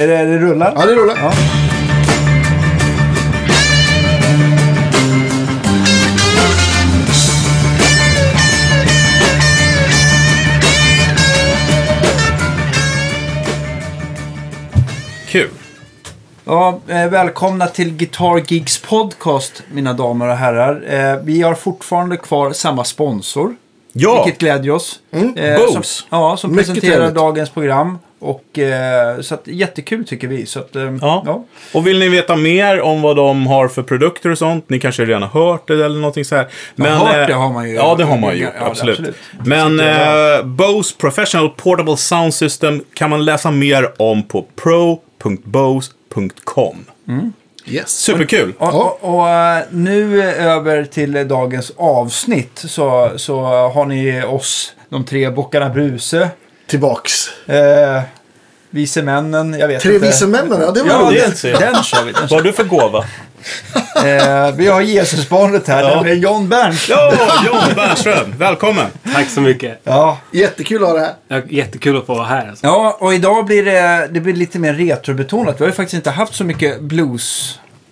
Är det, det rullar? Ja, det rullar. Ja. Kul. Ja, eh, välkomna till Guitar Gigs podcast, mina damer och herrar. Eh, vi har fortfarande kvar samma sponsor, Ja, vilket glädjer oss. Eh, Bose. Som, ja, som Mm. Mycket presenterar trevligt. dagens program. Och, eh, så att, jättekul tycker vi. Så att, eh, Ja. ja. Och vill ni veta mer om vad de har för produkter och sånt, ni kanske redan har hört det eller någonting så här. Men, hört eh, det har man ju. Ja, det har man ju Ja, gjort, det- absolut. absolut. Men eh, Bose Professional Portable Sound System kan man läsa mer om på pro.bose.com. Yes. Superkul! Och, och, och eh, nu över till eh, dagens avsnitt så, så har ni oss, de tre bockarna Bruse, Tillbaks. eh, vice männen, jag vet Tre inte. vise männen, ja det var Ja, roligt. den, den kör vi. Den Vad har du för gåva? Eh, vi har Jesusbarnet här, Ja. nämligen John Berns. Ja, John Bernström, välkommen! Tack så mycket. Ja. Jättekul att ha det här. Ja, Jättekul att få vara här. Alltså. ja, och idag blir det, det blir lite mer retrobetonat. Vi har ju faktiskt inte haft så mycket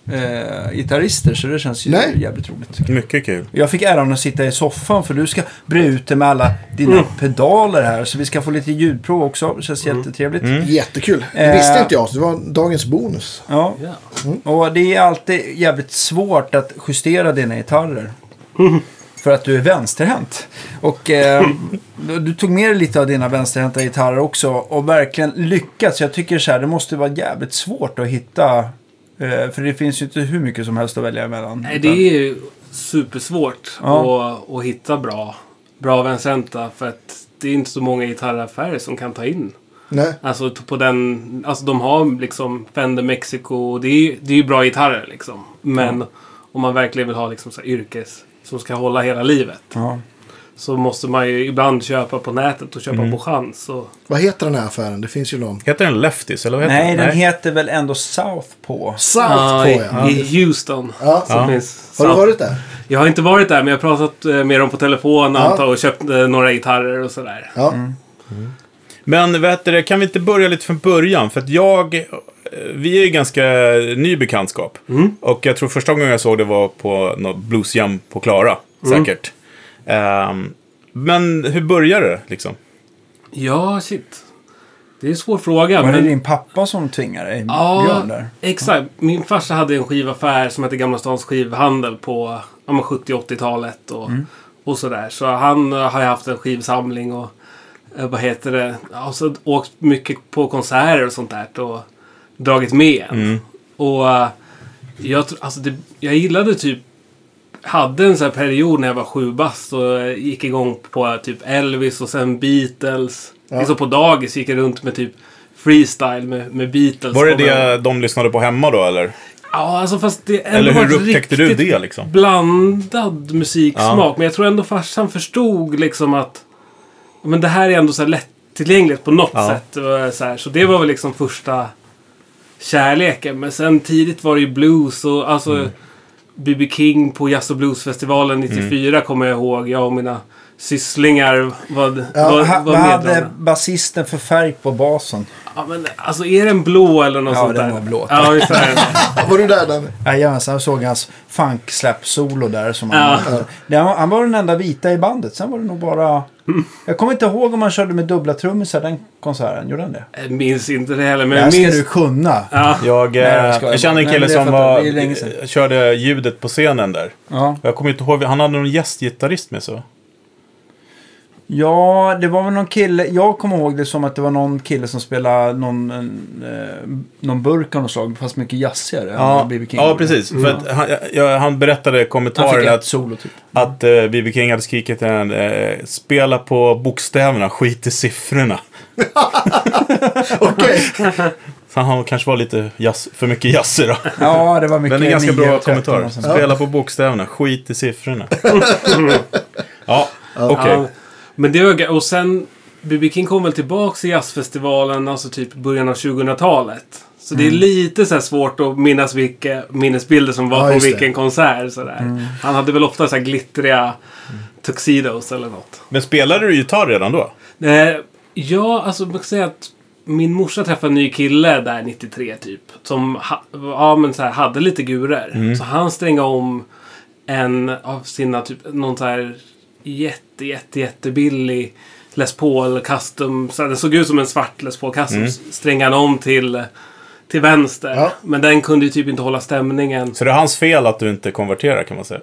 blues-gitarrister, så det känns ju Nej. jävligt roligt. tycker jag. Mycket kul. Jag fick äran att sitta i soffan för du ska bre ut dig med alla dina pedaler här. Så vi ska få lite ljudprov också. Det känns jättetrevligt. Mm. Jättekul. Det Eh. visste inte jag, så det var dagens bonus. Ja. Mm. Ja. Och det är alltid jävligt svårt att justera dina gitarrer. För att du är vänsterhänt. Och eh, du- du tog med dig lite av dina vänsterhänta gitarrer också och verkligen lyckats. Jag tycker så här, det måste vara jävligt svårt att hitta. Eh, för det finns ju inte hur mycket som helst att välja emellan. Nej, det är ju supersvårt Ja. att, att hitta bra, bra vänsterhänta. För att det är inte så många gitarraffärer som kan ta in. Nej. Alltså t- på den... Alltså de har liksom Fender Mexico och det är ju, det är ju bra gitarrer liksom. Men om man verkligen vill ha liksom så här yrkes som ska hålla hela livet. Ja. Så måste man ju ibland köpa på nätet och köpa Mm. på chans. Och, Vad heter den här affären? Det finns ju någon. Heter den Leftis, eller vad heter Nej, den? den heter väl ändå Southpaw. Southpaw, i, ja. I Houston. Ja. Som finns Har du South- varit där? Jag har inte varit där men jag har pratat eh, med dem på telefon Ja. antar, och köpt eh, några gitarrer och sådär. Ja. Men vad heter det, kan vi inte börja lite från början? För att jag, eh, vi är ju ganska ny bekantskap. Och jag tror första gången jag såg det var på något bluesjam på Klara, säkert. Ehm, men hur började det liksom? Ja, shit. Det är en svår fråga. Var det men... din pappa som tvingade dig? Ja, Björn där? exakt. Min farsa hade en skivaffär som hette Gamla Stans Skivhandel på ja, men 70-80-talet och, Mm. och sådär. Så han eh, har ju haft en skivsamling och eh, vad heter det? Ja, Och så åkt mycket på konserter och sånt där och dragit med en. Mm. Och eh, jag, tr- alltså det, jag gillade typ hade en sån här period när jag var sju bast och eh, gick igång på eh, typ Elvis och sen Beatles. Liksom på dagis gick jag runt med typ freestyle med, med Beatles. Var det Och med- det de lyssnade på hemma då eller? Ja, alltså fast det ändå Eller var hur ett upptäckte du riktigt det liksom? Blandad musiksmak. Men jag tror ändå farsan förstod liksom att ja, men det här är ändå så här lättillgängligt på något Ja. sätt. Och eh, så, här. så det var väl liksom första kärleken. Men sen tidigt var det ju blues och alltså Mm. B.B. King på Jazz och Bluesfestivalen 94 kommer jag ihåg. Jag och mina sysslingar var, Vad var, ha- var vad hade meddragna. basisten för färg på basen? Ja, men alltså är den blå eller något Ja, sånt där? den var blå. Ja, ungefär. Var du där Danne? Jajamensan, jag såg hans funk slap solo där. Som Ja. han, Det- han, han var den enda vita i bandet. Sen var det nog bara... Jag kommer inte ihåg om han körde med dubbla trummisar den konserten. Gjorde han det? Jag minns inte det heller, men Det här jag ska minns... du kunna. Ja. Jag, eh, Nej, jag jag, skojar bara. känner en Nej, kille men det som fattar jag. var, eh, Det är länge sedan. körde ljudet på scenen där. Ja. Jag kommer inte ihåg, han hade någon gästgitarrist med sig va? ja, det var väl någon kille. Jag kommer ihåg det som att det var någon kille som spelade någon, en, eh, någon burk av något slag. Fast mycket jazzigare än Ja, B.B. King. ja gjorde. precis. För att han, jag, Mm. han berättade i Han fick kommentaren ett att solo typ. Att eh, B.B. King hade skrikit till en, eh, spela på bokstäverna, skit i siffrorna. Okej. Så han kanske var lite jazz, för mycket jazz då. Ja, det var mycket Men det är en ganska 9 bra och 13 kommentar. och sånt. Spela på bokstäverna, skit i siffrorna. ja, okej. Ja, men det var, ga- och sen, B.B. King kom väl tillbaks till jazzfestivalen, alltså typ början av 2000-talet. Så Mm. det är lite så här svårt att minnas vilka minnesbilder som Ja, var på just det. Mm. vilken konsert. Så där. Han hade väl ofta så här glittriga tuxedos eller något. Men spelade du gitarr redan då? Eh, ja, alltså man kan säga att min morsa träffade en ny kille där 93 typ. Som ha, ja, men så här, hade lite gurer. Så han strängade om en av sina typ någon så här jätte, jätte, jättebillig Les Paul custom. Så här, det såg ut som en svart Les Paul custom. Strängade han om till, till vänster. Ja. Men den kunde ju typ inte hålla stämningen. Så det är hans fel att du inte konverterar kan man säga.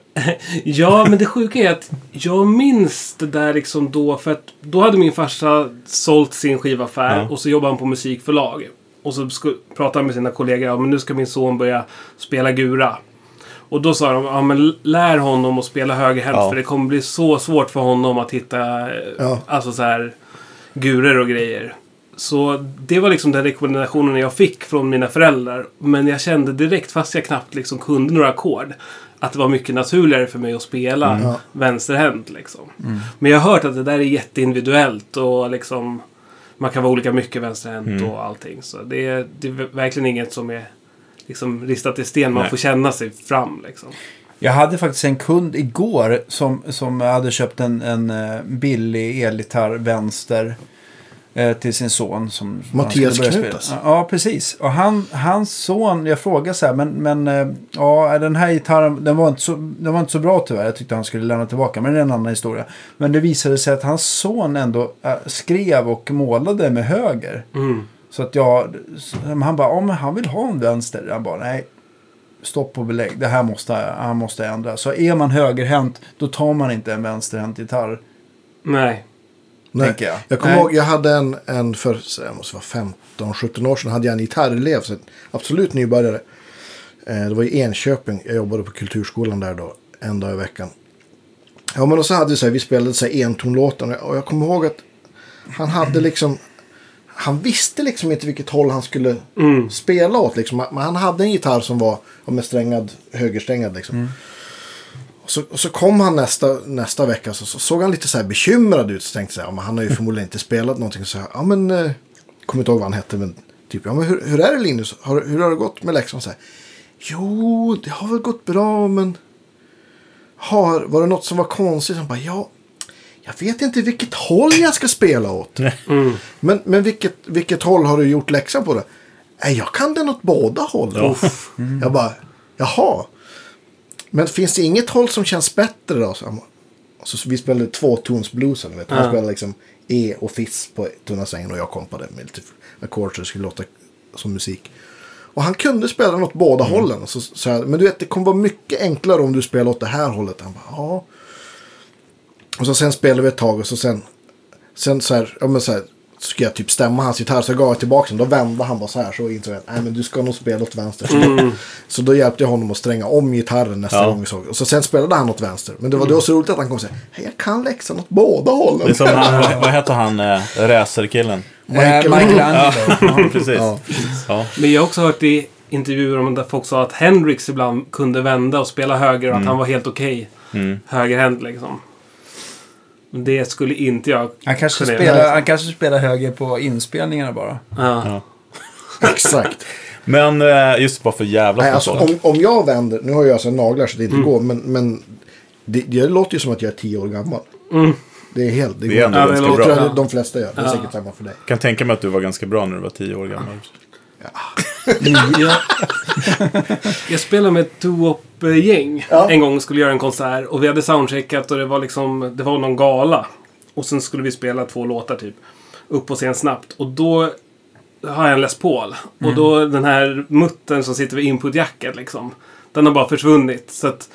Ja, men det sjuka är att jag minns det där liksom då. För att då hade min farsa sålt sin skivaffär Ja. och så jobbade han på musikförlag. Och så sku- pratade han med sina kollegor. Ja, men nu ska min son börja spela gura. Och då sa de, ja men lär honom att spela högerhänt. Ja. För det kommer bli så svårt för honom att hitta, eh, Ja. alltså så här, gurer och grejer. Så det var liksom den rekommendationen jag fick från mina föräldrar. Men jag kände direkt, fast jag knappt liksom kunde några ackord, att det var mycket naturligare för mig att spela Mm. Ja. Mm. vänsterhänt. Liksom. Men jag har hört att det där är jätteindividuellt och liksom, man kan vara olika mycket vänsterhänt Mm. och allting. Så det är, det är verkligen inget som är liksom, ristat i sten. Man Nej. får känna sig fram. Liksom. Jag hade faktiskt en kund igår som, som hade köpt en, en eh, billig elgitarr vänster eh, till sin son. Som som Mattias han skulle börja Knut, spela. alltså. Ja, precis. Och han, hans son, jag frågade så här, men, men eh, ja, den här gitarren, den var, inte så, den var inte så bra tyvärr. Jag tyckte han skulle lämna tillbaka, men det är en annan historia. Men det visade sig att hans son ändå eh, skrev och målade med höger. Mm. Så att jag, så- men han bara, ja men han vill ha en vänster. Jag bara, nej, stopp och belägg. Det här måste han måste ändra. Så är man högerhänt, då tar man inte en vänsterhänt gitarr. Nej. Nej. tänker jag. Jag kommer Nej. ihåg, jag hade en, en för så jag måste vara 15-17 år sedan, hade jag en gitarrelev, så en absolut nybörjare. Eh, det var i Enköping, jag jobbade på kulturskolan där då, en dag i veckan. Ja, men och så hade vi så här, vi spelade så här entonlåtar och jag kommer ihåg att han hade liksom, han visste liksom inte vilket håll han skulle spela åt liksom. Men han hade en gitarr som var ja, med strängad, högersträngad liksom. Och så, och så kom han nästa, nästa vecka så, så såg han lite så här bekymrad ut. Så tänkte jag, ja, men han har ju förmodligen inte spelat någonting. Så här, ja men, eh, kommer inte ihåg vad han hette men typ, ja men hur, hur är det Linus? Har, hur har det gått med läxan? Så här, jo, det har väl gått bra men har, var det något som var konstigt? Han bara, ja, jag vet inte vilket håll jag ska spela åt. Men, men vilket, vilket håll har du gjort läxan på då? Nej, jag kan den åt båda hållen. Uff. Jag bara, jaha. Men finns det inget håll som känns bättre då? Så, han- så så vi spelade tvåtonsbluesen. vet du. Han Ja. spelade liksom E och fiss på tunna strängen och jag kompade med lite ackord så det skulle låta som musik. Och han kunde spela den åt båda hållen. Så, så här, men du vet, det kommer vara mycket enklare om du spelar åt det här hållet. Han bara, ja. Och så sen spelade vi ett tag och så sen, sen så här, ja men så här, ska jag typ stämma hans gitarr så jag gav jag tillbaka den. Då vände han bara så här så insåg jag att nej men du ska nog spela åt vänster. Så, då, så då hjälpte jag honom att stränga om gitarren nästa Mm. Ja. gång vi såg. Och så sen spelade han åt vänster. Men det var då så roligt att han kom och sa, hej jag kan läxan åt båda hållen. Det är som han, vad, vad heter han, eh, racerkillen? Michael, Michael- eh, Michelangelo. Precis. Ja. Ja. Men jag har också hört i intervjuer om där folk sa att Hendrix ibland kunde vända och spela höger och att han var helt okej högerhänt liksom. Men Det skulle inte jag Han, kanske kunna spelar, göra. han kanske spelar höger på inspelningarna bara. Ja. Exakt. Men eh, just bara för jävla Nej, Nej, alltså, om, om jag vänder, nu har jag alltså naglar så det Mm. inte går, men, men det, det låter ju som att jag är tio år gammal. Det är helt, det, Mm. går Det inte. är ändå Ja, det ganska låter bra. tror Jag bra. jag de flesta gör, det är säkert samma för dig. kan tänka mig att du var ganska bra när du var tio år gammal. Jag, jag spelade med ett doo-wop-gäng Ja. en gång och skulle göra en konsert. Och vi hade soundcheckat och det var liksom, det var någon gala. Och sen skulle vi spela två låtar typ. Upp på scen snabbt. Och då har jag en Les Paul. Och då den här muttern som sitter vid inputjacket liksom. Den har bara försvunnit. Så att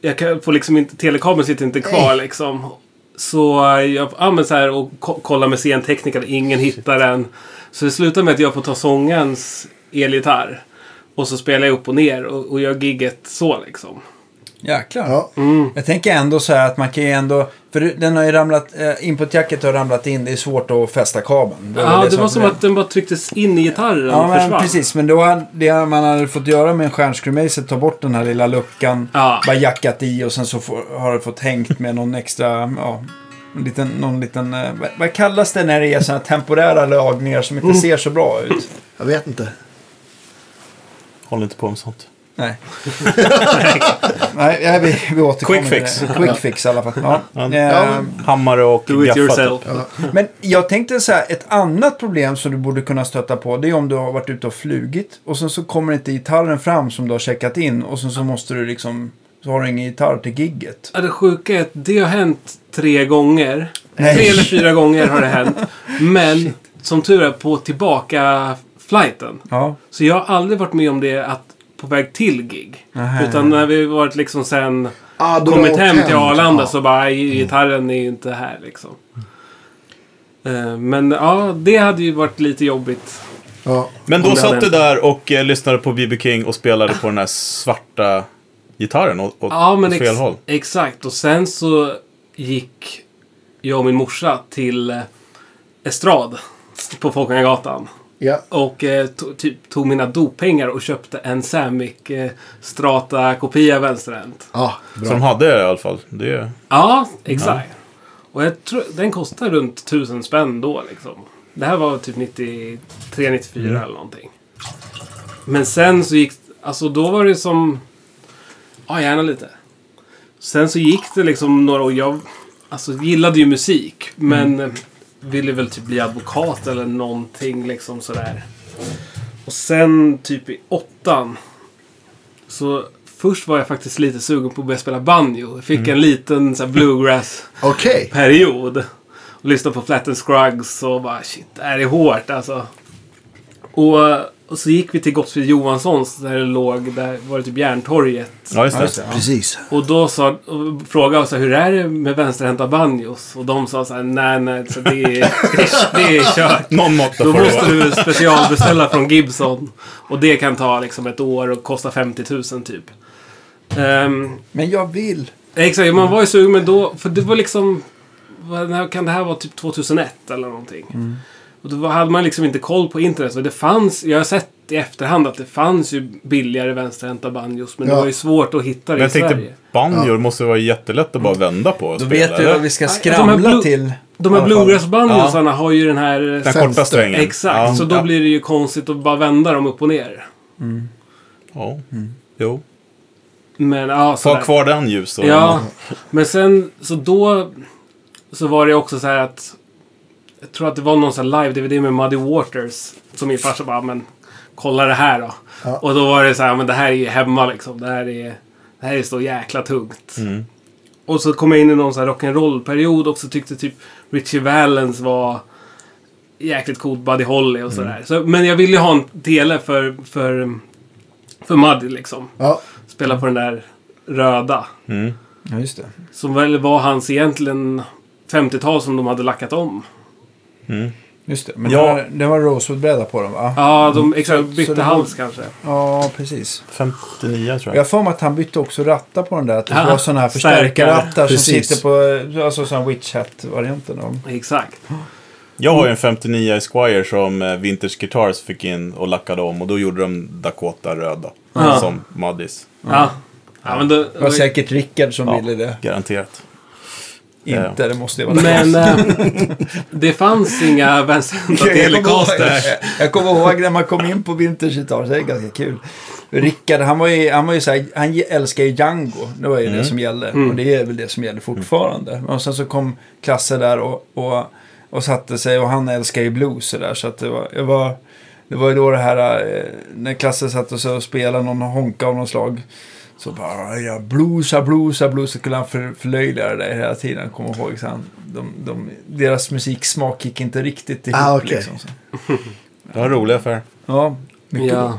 jag kan, får liksom inte, telekabeln sitter inte kvar liksom. Så jag ja, men så här, och ko- kollar med scentekniker, ingen hittar den. Så det slutar med att jag får ta sångens elgitarr. Och så spelar jag upp och ner och, och gör gigget så liksom. Jäklar. Ja. Mm. Jag tänker ändå så här att man kan ju ändå... För den har ju ramlat... Eh, inputjacket har ramlat in. Det är svårt att fästa kabeln. Ja, väl det, som var som är- att den bara trycktes in i gitarren Ja, och men försvann. precis. Men då hade, det man hade fått göra med en stjärnskruvmejsel, ta bort den här lilla luckan, Ja. bara jackat i och sen så får, har det fått hängt med någon extra, ja, en liten, någon liten, eh, vad, vad kallas det när det är sådana temporära Mm. lagningar som inte ser så bra ut? Jag vet inte. Håll inte på med sånt. Nej. Nej, ja, vi, vi återkommer Quick till fix. det. Quick fix i alla fall. Ja. Ja. Ehm, Hammare och typ. Do it gaffat. yourself. Men jag tänkte så här, ett annat problem som du borde kunna stöta på det är om du har varit ute och flugit och sen så kommer inte gitarren fram som du har checkat in och sen så måste du liksom, så har du ingen gitarr till gigget. Ja, det sjuka är att det har hänt tre gånger. Nej. Tre eller fyra gånger har det hänt. Men som tur är på tillbaka flighten. Ja, Så jag har aldrig varit med om det att på väg till gig. Nähä. Utan när vi varit liksom sen Ah, då kommit åkte hem till Arlanda Ja. så bara "Aj, gitarren är ju inte här liksom. Eh, Men ja, det hade ju varit lite jobbigt. Ja. Men då Om det satt hade du där och eh, lyssnade på B.B. King och spelade på den här svarta gitarren åt, åt, Ja, men åt fel håll. exakt. Och sen så gick jag och min morsa till eh, Estrad på Folkungagatan. ja. Och eh, to- typ, tog mina doppengar och köpte en Samick eh, Strata-kopia vänsterhänt. Ah, Så de bra. hade det i alla fall. Det är... Ja, exakt. Och jag tror den kostade runt 1000 spänn då liksom. Det här var typ 93, 94 eller någonting. Men sen så gick Alltså då var det som... Ja, gärna lite. Sen så gick det liksom några år. Jag alltså, gillade ju musik. Men eh, ville väl typ bli advokat eller någonting liksom sådär. Och sen typ i åttan. Så först var jag faktiskt lite sugen på att börja spela banjo. Jag Mm. fick en liten så här, bluegrass-period. Okej. Och lyssnade på Flatten Scruggs och bara shit, det här är hårt alltså. Och, och så gick vi till Gottfrid Johanssons där det låg, där var det typ Järntorget. Ja, just ja, det. just det. Ja. Precis. Och då sa, och frågade jag så här, hur är det med vänsterhänta banjos? Och de sa så här, nej nej, så det, är, det är kört. Någon måtta Då får det måste vara. du specialbeställa från Gibson. Och det kan ta liksom ett år och kosta 50 000 typ. Ehm, men jag vill. exakt, Mm. man var ju sugen men då, för det var liksom, vad- när kan det här vara typ 2001 eller någonting? Mm. Och då hade man liksom inte koll på internet. Så det fanns, jag har sett i efterhand att det fanns ju billigare vänsterhänta banjos. Men det Ja. var ju svårt att hitta det Men i jag Sverige. tänkte, banjor måste vara jättelätt att bara vända på och Då spela. vet du vad eller? vi ska Nej, de här skramla blue- till. De i här alla fall. bluegrassbanjosarna har ju den här... Den korta Fönster. strängen. Exakt, Ja, så då ja. blir det ju konstigt att bara vända dem upp och ner. Ja. Jo. Men ja, Ta sådär. kvar den ljus då. Ja, men sen så då så var det också så här att jag tror att det var någon sån här live-DVD med Muddy Waters som min farsa bara, men kolla det här då. Ja. Och då var det så här, men det här är ju hemma liksom. Det här är, det här är så jäkla tungt. Och så kom jag in i någon sån här rock'n'roll-period och så tyckte typ Richie Valens var jäkligt coolt, Buddy Holly och sådär. Så, men jag ville ju ha en tele för, för, för Muddy liksom. Ja. Spela på den där röda. Ja, just det. Som väl var hans egentligen 50-tal som de hade lackat om. Just det. Men Ja. det var, det var rosewood på den va? Ja, de exakt, bytte Mm. så det hals kanske. Ja, precis. 59 tror Jag har för mig att han bytte också rattar på den där. Att det Ja, var sådana här stärkare. förstärkarrattar som Precis. sitter på, alltså sån witch hat-varianten. av dem. Exakt. Mm. Jag har ju en 59 Esquire som eh, Vintage Guitars fick in och lackade om och då gjorde de Dakota röda. Ja. Som Muddys. Ja. ja men, då, Det var säkert Rickard som ville det. Garanterat. Ja. Inte, det måste ju vara men eh, det fanns inga vänsterhänta Jag kommer ihåg- telecaster. Jag kommer ihåg när man kom in på Vintage Guitar, så det är ganska kul. Rickard, han var ju, han var ju så här, han ge- älskar ju Django. Det var ju det som gällde. Och det är väl det som gäller fortfarande. Och sen så kom klasser där och, och, och satte sig och han älskar ju blues och där. Så att det var, det var, det var ju då det här eh, när klasser satte sig och spelade någon honka av någon slag. Så bara, ja, bluesa, bluesa, bluesa. Så Skulle han för, förlöjliga det där hela tiden, kommer jag ihåg. Så han, de, de, deras musiksmak gick inte riktigt ihop. Ah, okej. liksom, så. Det var en rolig affär. Ja, mycket bra. Ja.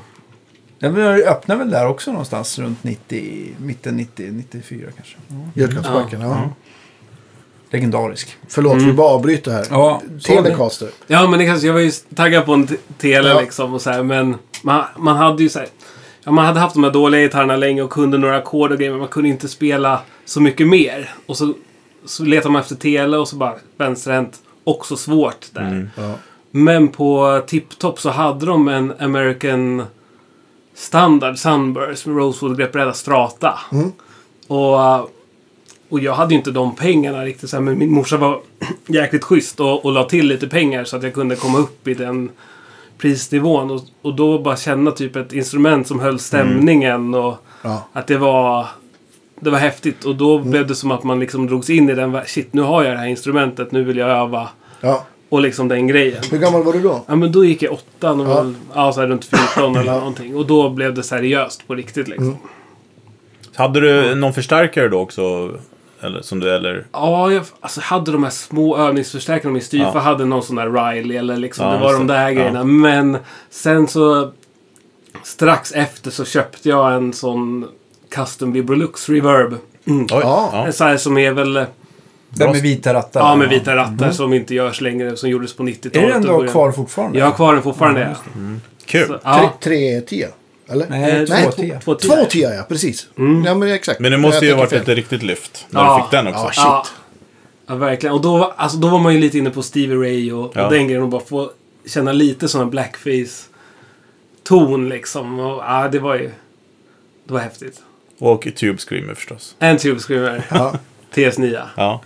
Den väl- öppnade väl där också någonstans runt 90, mitten 90, 94 kanske. Ja. Götgatsbacken. Ja. Legendarisk. Förlåt, vi Mm. bara avbryter här. Ja, Telecaster. ja, men det kanske, jag var ju taggad på en t- tele Ja. liksom och så här, men man, man hade ju så här, ja, man hade haft de här dåliga gitarrerna länge och kunde några ackord och grejer, men man kunde inte spela så mycket mer. Och så, så letade man efter tele och så bara vänsterhänt, också svårt där. Mm. Ja. Men på TipTop så hade de en American Standard Sunburst med Rosewood greppbräda Strata. Och, eh, och jag hade ju inte de pengarna riktigt. så här, Men min morsa var jäkligt schysst och, och la till lite pengar så att jag kunde komma upp i den prisnivån. Och, och då bara känna typ ett instrument som höll stämningen. Och Ja. att det var... Det var häftigt och då blev det som att man liksom drogs in i den. vär- Shit, nu har jag det här instrumentet. Nu vill jag öva. ja. Och liksom den grejen. Hur gammal var du då? Ja men då gick jag åttan och Ja. var väl, ja, så här runt 14 eller någonting. Och då blev det seriöst på riktigt liksom. Mm. Hade du någon förstärkare då också? Eller, som du, eller? Ja, jag alltså, hade de här små övningsförstärkarna. Min styvfar Ja. hade någon sån där Riley eller liksom. Ja, det var just de det. där Ja. grejerna. Men sen så strax efter så köpte jag en sån Custom Vibrolux Reverb. Oj, Ja. ja. En sån här som är väl, Den med vita rattar. ja med vita rattar som inte görs längre. Som gjordes på 90-talet. Mm. Är den och då början. kvar fortfarande? Jag har kvar den fortfarande. ja. Kul. ja. Tre 310? Eller? Nej, Eh, två två- T. två tio. Mm. Två tia, ja. Precis. Ja, men exakt. Men det måste Jag ju ha tänker varit fel. ett riktigt lyft när Ja. du fick den också. Ja, shit. Ja. ja, verkligen. Och då, var- alltså, då var man ju lite inne på Stevie Ray och, Ja. och den grejen och bara få känna lite sån här blackface-ton liksom. Och, ja, det var ju... Det var häftigt. Och Tube Screamer förstås. En Tube Screamer. Ja. TS9. Ja.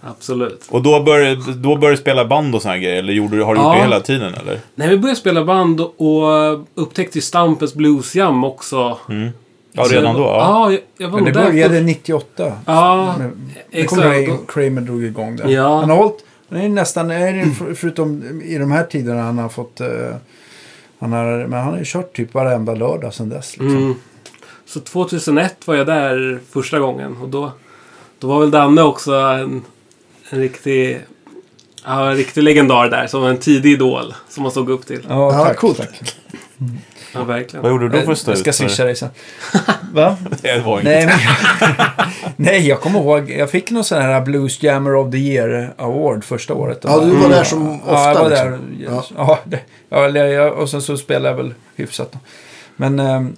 Absolut. Och då började, då började du spela band och såna grejer? Eller gjorde, du- har du gjort Ja. det hela tiden eller? Nej, vi började spela band och och upptäckte ju Stampens Bluesjam också. Ja, redan då? Ja. Ja, jag, jag var Men det nog där. började först. 98. Ja, Men- Det exakt. kommer jag ihåg, Kramer drog igång det. Ja. Han har hållit, han är nästan, är det för- förutom i de här tiderna han har fått, eh, han har, men han har ju kört typ varenda lördag sedan dess. Liksom. Mm. Så 2001 var jag där första gången och då, då var väl Danne också en, en riktig ja, en riktig legendar där, som en tidig idol som man såg upp till. Ja, Ja, tack. coolt. tack. Ja, verkligen. Vad gjorde du då för att stå jag ska ut för det? swisha dig sen. Va? Det var inget. Nej, men, nej, jag kommer ihåg, jag fick någon sån här Blues Jammer of the Year Award första året. Mm. Ja, du var där som ofta. Ja, jag var liksom. där. Ja. Ja. det, ja, eller jag, och sen så spelade jag väl hyfsat. Då. Men, ehm,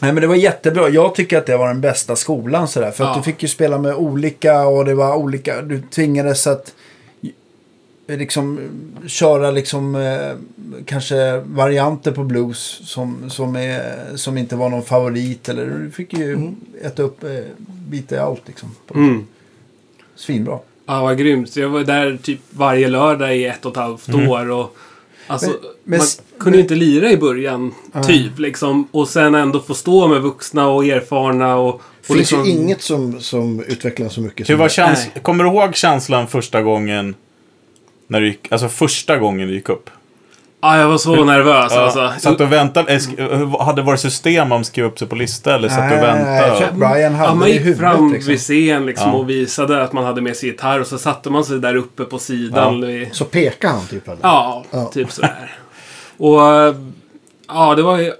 nej, men det var jättebra. Jag tycker att det var den bästa skolan. Sådär, för att Ja. du fick ju spela med olika och det var olika. Du tvingades att eh, liksom eh, köra liksom eh, kanske varianter på blues som, som, är, som inte var någon favorit eller du fick ju äta upp eh, bita i allt liksom. Mm. Svinbra. Ja, vad grymt. Jag var där typ varje lördag i ett och ett halvt år. Och, alltså, Men- men man s- kunde ju inte lira i början, Ja. typ. Liksom, och sen ändå få stå med vuxna och erfarna. Och, och Det finns liksom, ju inget som, som utvecklar så mycket. Hur som var det. käns- Nej. Kommer du ihåg känslan första gången? När du gick, alltså första gången du gick upp? Ja, jag var så nervös Ja, alltså. satt du och väntade? eh, sk- hur- Hade det varit system man skrev upp sig på lista eller satt du och Nej, jag väntade? tror- Brian hade ja, man det i gick huvudet, fram liksom. vid scen liksom, Ja. och visade att man hade med sig gitarr och så satte man sig där uppe på sidan. vid- Så pekar han typ? Eller? Ja, Ja. typ sådär. Och eh, ja, det var ju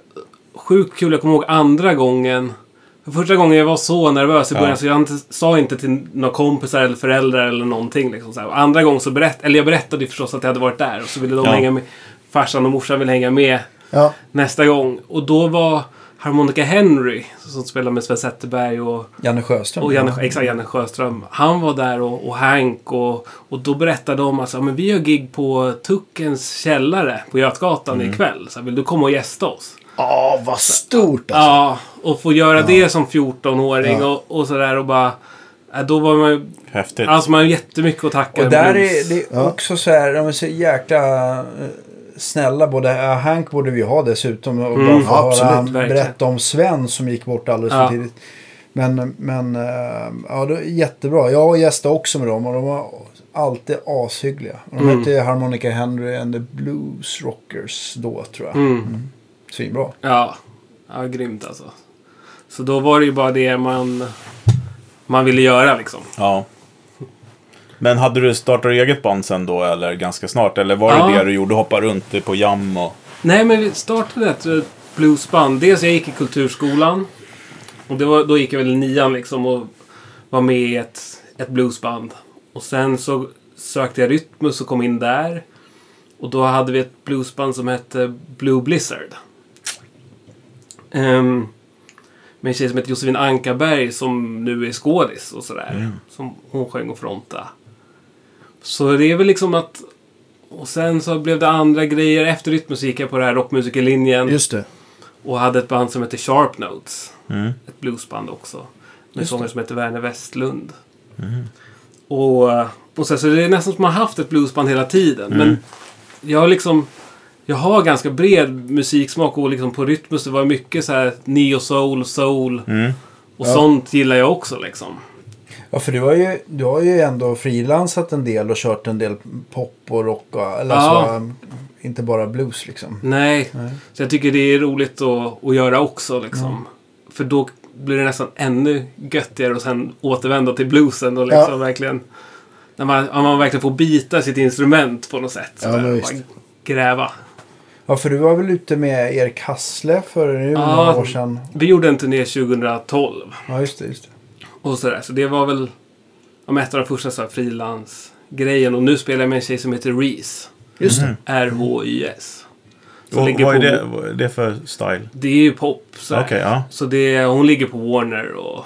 sjukt kul. Jag kommer ihåg andra gången. För första gången jag var så nervös i början Ja. så jag inte, sa inte till några kompisar eller föräldrar eller någonting. Liksom, så här. Och Andra gången så berättade, eller jag berättade ju förstås att jag hade varit där och så ville de Ja. hänga med. Farsan och morsan ville hänga med Ja. nästa gång. Och då var Harmonica Henry, som spelar med Sven Zetterberg och Janne Sjöström. och Janne, exakt, Janne Sjöström. Han var där och, och Hank och, och då berättade de att men vi gör gig på Tuckens källare på Götgatan ikväll. Så här, vill du komma och gästa oss? Ja, vad stort alltså. Ja, och få göra det som 14-åring och, och sådär och bara... ja, Då var man ju... Häftigt. Alltså man har jättemycket att tacka Och där blues. är det Ja. också så här, de är så jäkla eh, snälla. Både eh, Hank borde vi ha dessutom. Och bara få Ja, höra absolut, han Mm. verkligen. berätta om Sven som gick bort alldeles Ja. för tidigt. Men, men eh, ja, det är jättebra. Jag gästade också med dem och de var alltid ashyggliga. Och Mm. De hette Harmonica Henry and the Blues Rockers då tror jag. Mm. Svinbra. Ja. ja, grymt alltså. Så då var det ju bara det man, man ville göra liksom. Ja. Men hade du startat eget band sen då eller ganska snart? Eller var Ja. det det du gjorde? Hoppa runt på jam och... Nej, men vi startade ett eh, bluesband. Dels jag gick i kulturskolan. Och det var, då gick jag väl i nian liksom och var med i ett, ett bluesband. Och sen så sökte jag Rytmus och kom in där. Och då hade vi ett bluesband som hette Blue Blizzard. Ehm, med en tjej som heter Josefin Ankarberg som nu är skådis och sådär. Som hon sjöng och fronta. Så det är väl liksom att... Och sen så blev det andra grejer. Efter Rytmus gick jag på den här rockmusikerlinjen. Just det. Och hade ett band som hette Sharp Notes. Mm. Ett bluesband också. Med sångare som hette Werner Westlund. eh, Och, och så, så det är nästan som att man har haft ett bluesband hela tiden. Men jag har liksom... jag har ganska bred musiksmak och liksom på Rytmus det var mycket så här neo-soul, soul och sånt gillar jag också liksom. Ja, för du har ju, du har ju ändå frilansat en del och kört en del pop och rock. Och, eller Ja. alltså, um, inte bara blues liksom. Nej. Så jag tycker det är roligt att, att göra också liksom. För då blir det nästan ännu göttigare och sen återvända till bluesen och liksom Ja. verkligen... När man, om man verkligen får bita sitt instrument på något sätt. Så Ja, där, men och visst. bara gräva. Ja, för du var väl ute med Erik Hassle för nu Ja. några år sedan. Vi gjorde en turné 2012 Ja, just det. Just det. och sådär. Så det var väl om ett av de första så här frilansgrejen. Och nu spelar jag med en tjej som heter Reese. Just Mm. det. R-H-Y-S. Som Och, ligger vad, är på- det, vad är det för style? Det är ju pop. Så, här. Okej, ja. så det, hon ligger på Warner och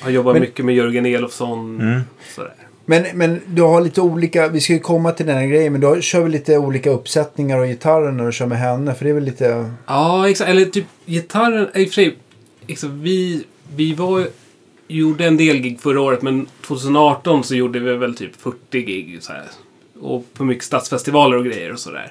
har jobbat Men- mycket med Jörgen Elofsson. Mm. Sådär. Men, men du har lite olika, vi ska ju komma till den här grejen, men du kör väl lite olika uppsättningar och gitarrer när du kör med henne? För det är väl lite... Ja, exakt. Eller typ gitarren. I och för sig, exakt, vi, vi var, gjorde en del gig förra året, men 2018 så gjorde vi väl typ 40 gig. Så här, och på mycket stadsfestivaler och grejer och sådär.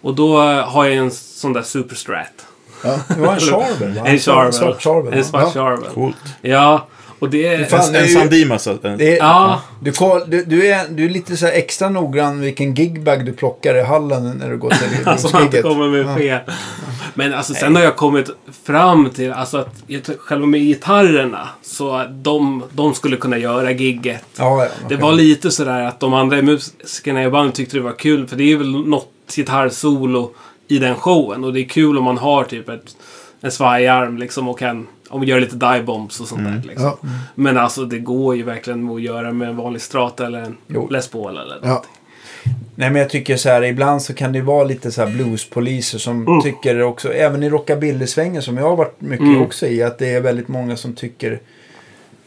Och då eh, har jag en sån där superstrat. Ja. Det var en Charvel va? En Charvel. Svart Charvel. En va? svart Ja. Charvel. Coolt. Ja, och det... Fan, En, det är en ju- Sandim alltså. En, Det är, Ja, du, koll- du, du, är, du är lite så här extra noggrann vilken gigbag du plockar i hallen när du går till Alltså man inte giget. kommer med fel. Men alltså sen har jag kommit fram till alltså att jag tror- själva med gitarrerna så att de, de skulle kunna göra gigget. Ja, ja, Det okej. var lite sådär att de andra musikerna i bandet tyckte det var kul för det är väl något gitarrsolo i den showen och det är kul om man har typ ett, en svajarm liksom och kan om man gör lite dive-bombs och sånt Mm. där. Liksom. Ja. Men alltså det går ju verkligen att göra med en vanlig strata eller en Jo. Les Paul eller något. Ja. Nej men jag tycker så här, ibland så kan det vara lite så här bluespoliser som tycker också, även i rockabillysvängen som jag har varit mycket Mm. också i, att det är väldigt många som tycker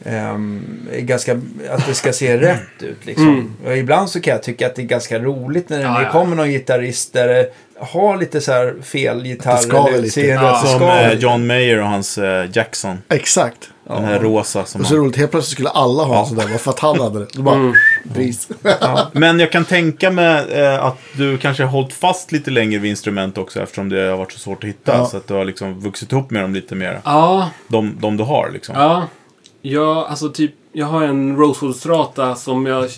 ehm, är ganska, att det ska se rätt ut liksom. Och ibland så kan jag tycka att det är ganska roligt när det Ja, ja. kommer någon gitarrist där det har lite så här fel gitarr. Att det skaver eller lite. ser Ja. rätt- som skaver. eh, John Mayer och hans eh, Jackson. Exakt. Ja. Den här rosa som Och så är han... det roligt, helt plötsligt skulle alla ha en sån där. bara För att han hade det. Så bara, Mm. pris. Men jag kan tänka mig eh, att du kanske har hållit fast lite längre vid instrument också eftersom det har varit så svårt att hitta. Ja. Så att du har liksom vuxit ihop med dem lite mer. Ja, De, de du har liksom. Ja. Ja, alltså typ. Jag har en Rosewood Strata som jag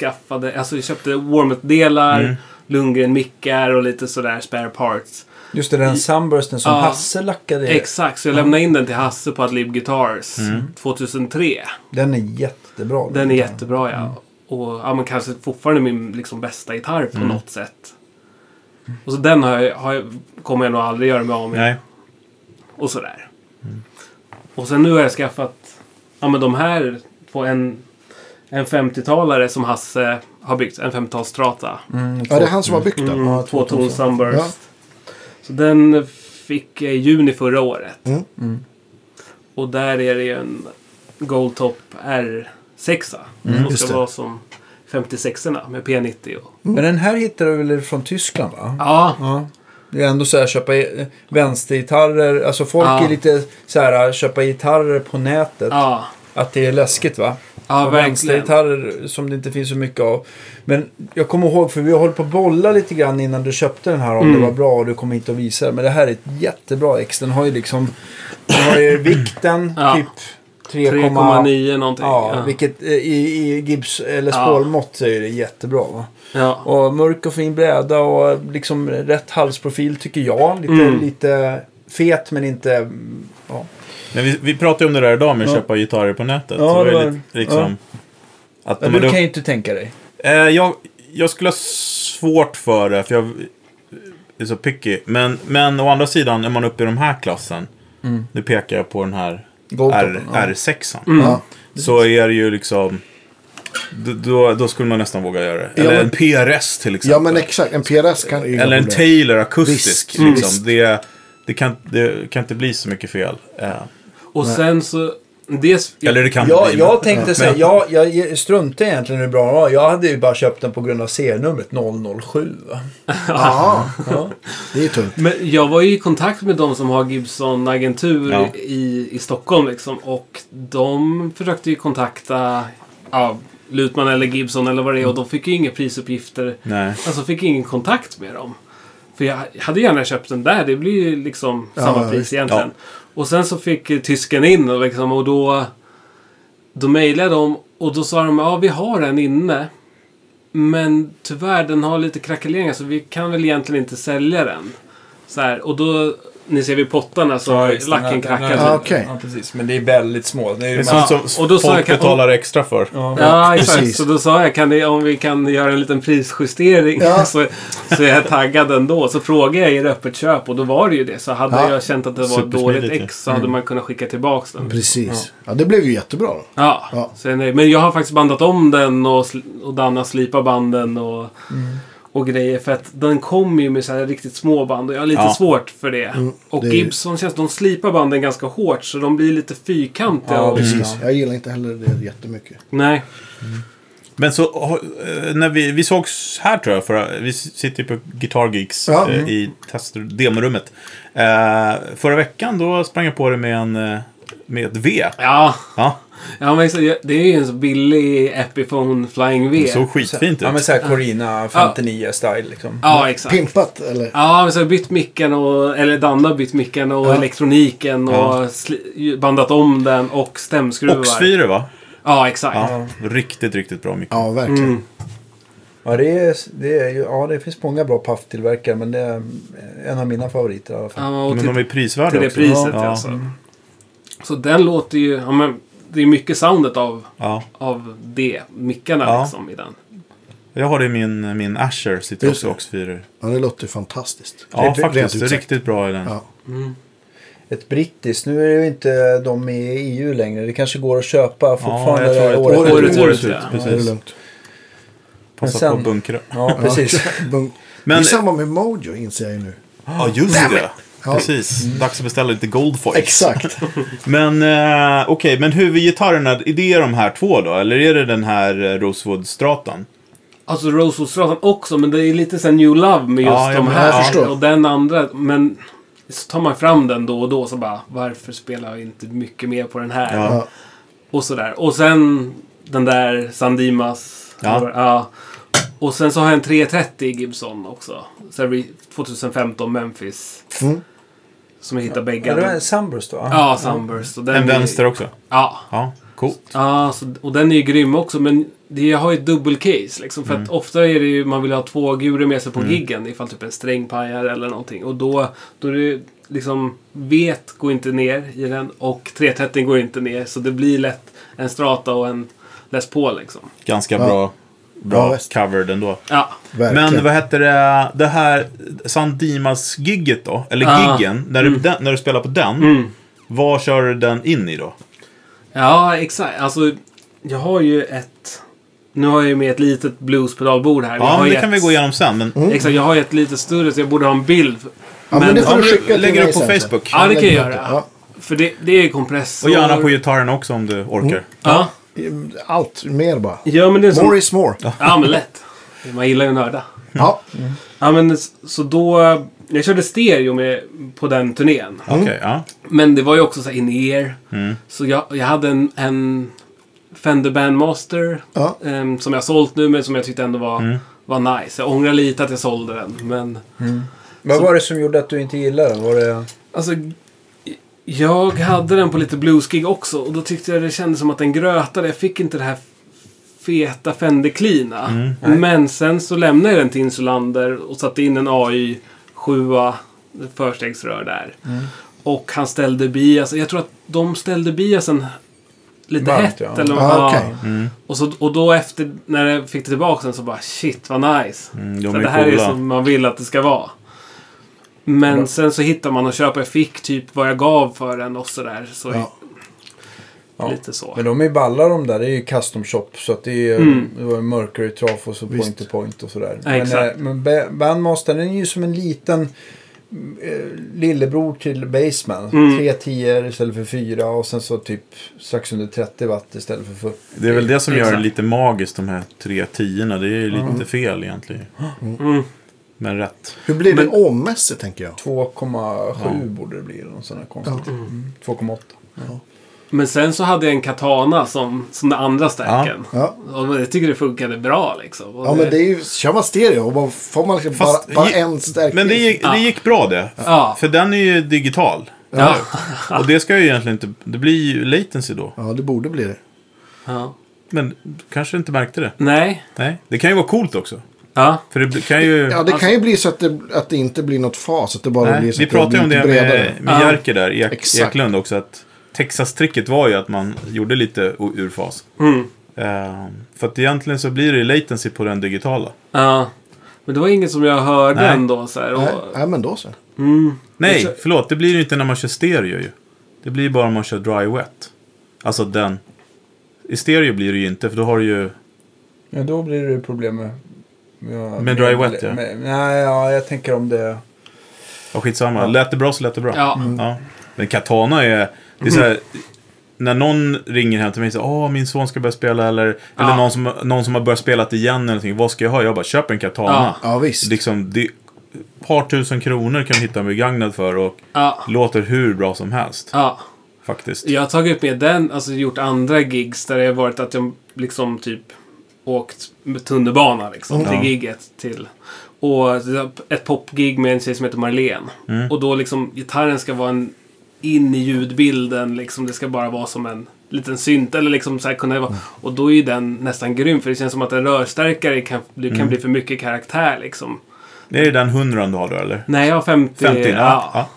skaffade. Alltså jag köpte Warmet-delar, Lundgren-mickar och lite sådär spare parts. Just det, den sunbursten som Ja. Hasse lackade i. Exakt, så jag lämnade in den till Hasse på Adlib Guitars 2003. Den är jättebra. Den är jättebra Mm. ja. Mm. Och ja, men kanske fortfarande min liksom, bästa gitarr på något sätt. Och så den har jag, har jag, kommer jag nog aldrig göra mig av med. Nej. Och sådär. Och sen nu har jag skaffat ja, men de här på en, en 50-talare som Hasse har byggt. En 50-talsstrata. Mm, Ja, det är han som har byggt den. Mm, Tvåton Sunburst. Ja. Så den fick jag i juni förra året. Mm. Och där är det ju en Goldtop R6. som just ska det. vara som 56orna med P90. Och... Men den här hittar du väl från Tyskland va? Ja, Ja. Det är ändå så här köpa eh, vänstergitarrer. Alltså folk Ja. är lite så här köpa gitarrer på nätet. ja, Att det är läskigt va? Och ja verkligen. Vänstergitarrer som det inte finns så mycket av. Men jag kommer ihåg för vi har hållit på att bolla lite grann innan du köpte den här om Mm. det var bra och du kom hit och visade. Men det här är ett jättebra ex. Den har ju liksom den har ju vikten Ja. typ 3,9. 3,9 någonting. Ja, vilket eh, i, i Gibbs eller Ja. Spålmått så är det jättebra va? ja. Och mörk och fin bräda och liksom rätt halsprofil tycker jag. Lite, Mm. lite fet men inte... mm, Ja. Men vi, vi pratade ju om det där idag med att Ja. köpa gitarrer på nätet. Ja, det det var ju var- lite, liksom... Att Ja, du de hade- kan ju inte tänka dig. Eh, jag, jag skulle ha svårt för det, för jag är så picky. Men, men å andra sidan, är man uppe i den här klassen, nu pekar jag på den här Mm. Goldtoppen, R, ja. Mm, R6, Ja. så är det ju liksom... d- Då, då skulle man nästan våga göra det. Ja, Eller men- en PRS till exempel. ja, men exakt. En PRS kan ju Eller en problem. Taylor akustisk. Visst, mm, liksom. det, det, kan, det kan inte bli så mycket fel. Eh, Och sen så... Dels, Eller det kan det Jag, bli. jag men- tänkte säga, jag, jag struntade egentligen i hur bra den var. Jag hade ju bara köpt den på grund av serienumret 007. va? Ja, Ja. det är tungt. Men jag var ju i kontakt med de som har Gibson-agentur Ja. i, i Stockholm liksom. Och de försökte ju kontakta ja, Lutman eller Gibson eller vad det är. Och de fick ju inga prisuppgifter. Nej. Alltså fick ingen kontakt med dem. För jag hade gärna köpt den där. Det blir ju liksom Ja, samma pris visst. egentligen. Och sen så fick eh, tysken in och, liksom, och då... Då mejlade de och då sa de ja vi har en inne. Men tyvärr den har lite krackeleringar så vi kan väl egentligen inte sälja den. Så här, och då... Ni ser vid pottarna så Ja, har just den här- lacken den här- krackat. Ja, lite. okej. Ja, precis. Men det är väldigt små. Det är ju Det ser ut massa... som och då sa folk jag- betalar extra för. Ja. Ja, exakt. precis. Så då sa jag kan ni, om vi kan göra en liten prisjustering. Ja. Så, så är jag taggad ändå. Så frågade jag er öppet köp och då var det ju det. Så hade Ja. jag känt att det var ett Supersmidigt dåligt ju. Mm. ex så hade man kunnat skicka tillbaka den. Precis. Ja, det blev ju jättebra. då. Ja, Ja. Så jag är nöjd. men jag har faktiskt bandat om den och, sl- och Danna slipar banden och, Mm. och grejer. För att den kommer ju med så här riktigt små band och jag har lite Ja. svårt för det. och Mm. det är- Gibson känns, de slipar banden ganska hårt så de blir lite fyrkantiga. Ja, och, precis. Precis. Mm. Jag gillar inte heller det jättemycket. nej. Men så, eh, när vi, vi sågs här tror jag, för vi sitter ju på Guitar Geeks Ja. eh, i test, demorummet. Eh, förra veckan då sprang jag på det med, en, eh, med ett V. Ja, Ja, Ja, men så, det är ju en så billig Epiphone Flying V. det såg skitfint ut. Ja, men såhär Corina 59-style liksom. Ja, exakt. Pimpat eller? Ja, men så har jag bytt micken och, eller Danne har bytt micken och Ja. elektroniken och Ja. sli- bandat om den och stämskruvar. Oxfyre va? Ja, exakt. Ja, riktigt, riktigt bra mycket. Ja, verkligen. Mm. Ja, det, är, det, är, ju- ja, det finns många bra pafftillverkare men det är en av mina favoriter i alla fall. Ja, och Men till, de är prisvärda till det också. priset ja. alltså. Så den låter ju, ja men det är mycket soundet av, Ja. av det, mickarna Ja. liksom i den. Jag har det i min, min Asher, sitter Just också Oxfyre. Ja, det låter ju fantastiskt. Ja, Rent- faktiskt. rent Det är ut typ sagt. riktigt bra i den. Ja. Ett brittiskt, nu är det ju inte de i EU längre. Det kanske går att köpa fortfarande jag tror det. året ut. Året ut. Året ut, ja. Ja, det är precis. lugnt. Passa Men sen- på att bunkra. Ja, precis. Bung- Men- Det är samma med Mojo inser jag ju nu. Ja, just det. Ja. Mm. Precis. Dags att beställa lite Goldfoil. Exakt. Men eh, okej, men huvudgitarrerna, är det de här två då? Eller är det den här eh, Rosewood-stratan? Alltså Rosewood-stratan också, men det är lite såhär New Love med just Ja, ja, de men- jag här. förstår. och den andra, men så tar man fram den då och då så bara, varför spelar jag inte mycket mer på den här? Ja. Ja. Och sådär. Och sen den där Sandimas. Ja. ja. Och sen så har jag en 330 Gibson också. Så här blir 2015 Memphis. Mm. Som jag hittade Ja, bägge. det var Sunburst va? Ja, Sunburst. Och den En är- vänster också? Ja. Ja, cool. Ja, så, och den är ju grym också, men det, jag har ju ett dubbelcase. Liksom, Mm. för att ofta är det ju, man vill ha två gurer med sig på giggen ifall typ en sträng pajar eller någonting. Och då, då är det liksom, vet går inte ner i den och 330 går inte ner. Så det blir lätt en strata och en Les Paul liksom. Ganska Ja. bra, bra Ja, visst. covered ändå. Ja, Verkligen. Men vad heter det, det här Sandimas-gigget då? Eller Ah. giggen, när, du, den, när du spelar på den. Mm. Vad kör du den in i då? ja exakt. Alltså, jag har ju ett... Nu har jag ju med ett litet bluespedalbord här. Jag Ja, har Mm. men ju det kan ett, vi gå igenom sen. Men Exakt, jag har ju ett lite större så jag borde ha en bild. Ja, men det får du ja, men skicka du till lägger mig upp på sen, så. Facebook. Ja, det kan jag lägger upp göra. det. För det, det är kompressor. Och gärna på gitarren också om du orkar. Ja. Ja. Allt, mer bara. Ja, men det är More så... is more. Ja. Ja, men lätt. Man gillar ju att nörda. Ja. Ja, men s- så då... Jag körde stereo med, på den turnén. Okej, ja. Men det var ju också så här in-ear. Så jag, jag hade en, en Fender Bandmaster. Ja. ehm, som jag sålt nu, men som jag tyckte ändå var, var nice. Jag ångrar lite att jag sålde den, men... Vad var det som gjorde att du inte gillade den? Var det... Alltså, jag hade den på lite bluesgig också och då tyckte jag det kändes som att den grötade. Jag fick inte det här feta Fender-klina. Mm. Men sen så lämnade jag den till Insulander och satte in en AI 7 förstegsrör där. Mm. Och han ställde bias. Jag tror att de ställde biasen lite Varmt, hett. ja. Mm. Eller, Ah, ja. okej. och, så, och då efter, när jag fick det tillbaka den så bara shit vad nice. Mm, de Så är det här är coola. som man vill att det ska vara. Men sen så hittar man och köper. Jag fick typ vad jag gav för den och sådär. Så Ja. Ja. Lite så. Men de är ju balla de där. Det är ju custom shop. Så att det är ju det var ju Mercury Traf och så Visst. point to point och sådär. Ja, men exakt. eh, men Ba- Bandmaster den är ju som en liten eh, lillebror till Baseman. Mm. Tre tior istället för fyra och sen så typ strax under 30 watt istället för 40. Det är väl det som gör det Exakt. lite magiskt, de här tre tiorna. Det är ju lite fel egentligen. Mm. Men rätt. Hur blir Men- det ommässigt tänker jag? 2,7 borde det bli. eller Någon sån här konstigt. Mm. 2,8. Men sen så hade jag en katana som, som den andra stärken. Ja. Och jag tycker det funkade bra liksom. Och Ja, men det är ju, kör man stereo och bara, får man liksom Eh, Fast- bara, bara ge- en stärkning. Men det gick, det gick bra det. Ja. För den är ju digital. Ja. Och det ska ju egentligen inte... Det blir ju latency då. Ja, det borde bli det. ja. Men du kanske inte märkte det. Nej. Nej. Det kan ju vara coolt också. Ja. För det kan ju... Ja, det Alltså- kan ju bli så att det, att det inte blir något fas. Att det bara blir Nej, så vi att det pratade blir ju om det lite bredare. med, med Ja. Jerker där, Ek, Exakt. Eklund också. Att Texas-tricket var ju att man gjorde lite o- ur fas. Mm. Ehm, för att egentligen så blir det ju latency på den digitala. Ja. Men det var inget som jag hörde Nej. ändå. Så här, och, Nej, nej, men då så. Mm. Nej, Exakt. förlåt. Det blir det ju inte när man kör stereo ju. Det blir ju bara om man kör dry wet. Alltså den. I stereo blir det ju inte, för då har du ju... Men då blir det problem med... Med, Med dry wet, ja. med- Nej, ja, jag tänker om det... Ja, skitsamma. Lät det bra så lät det bra. Ja. Mm. Ja. Men Katana är... Det är så här, när någon ringer hem till mig och säger åh min son ska börja spela eller, eller Ja. någon, som, någon som har börjat spela det igen eller någonting. Vad ska jag ha? Jag bara, köp en Katana. Ja. Ja, visst. Liksom, det, ett par tusen kronor kan du hitta en begagnad för och Ja. låter hur bra som helst. Ja. Faktiskt. Jag har tagit med den, alltså gjort andra gigs där det har varit att jag liksom typ åkt med tunnelbana liksom till Ja. gigget till. Och ett popgig med en tjej som heter Marlene. Mm. Och då liksom gitarren ska vara en in i ljudbilden liksom. Det ska bara vara som en liten synt eller liksom så här kunna Mm. vara. Och då är ju den nästan grym för det känns som att en rörstärkare kan, det Mm. kan bli för mycket karaktär liksom. Det är den hundran du har då eller? Nej, jag har 50. 50? Ja. ja.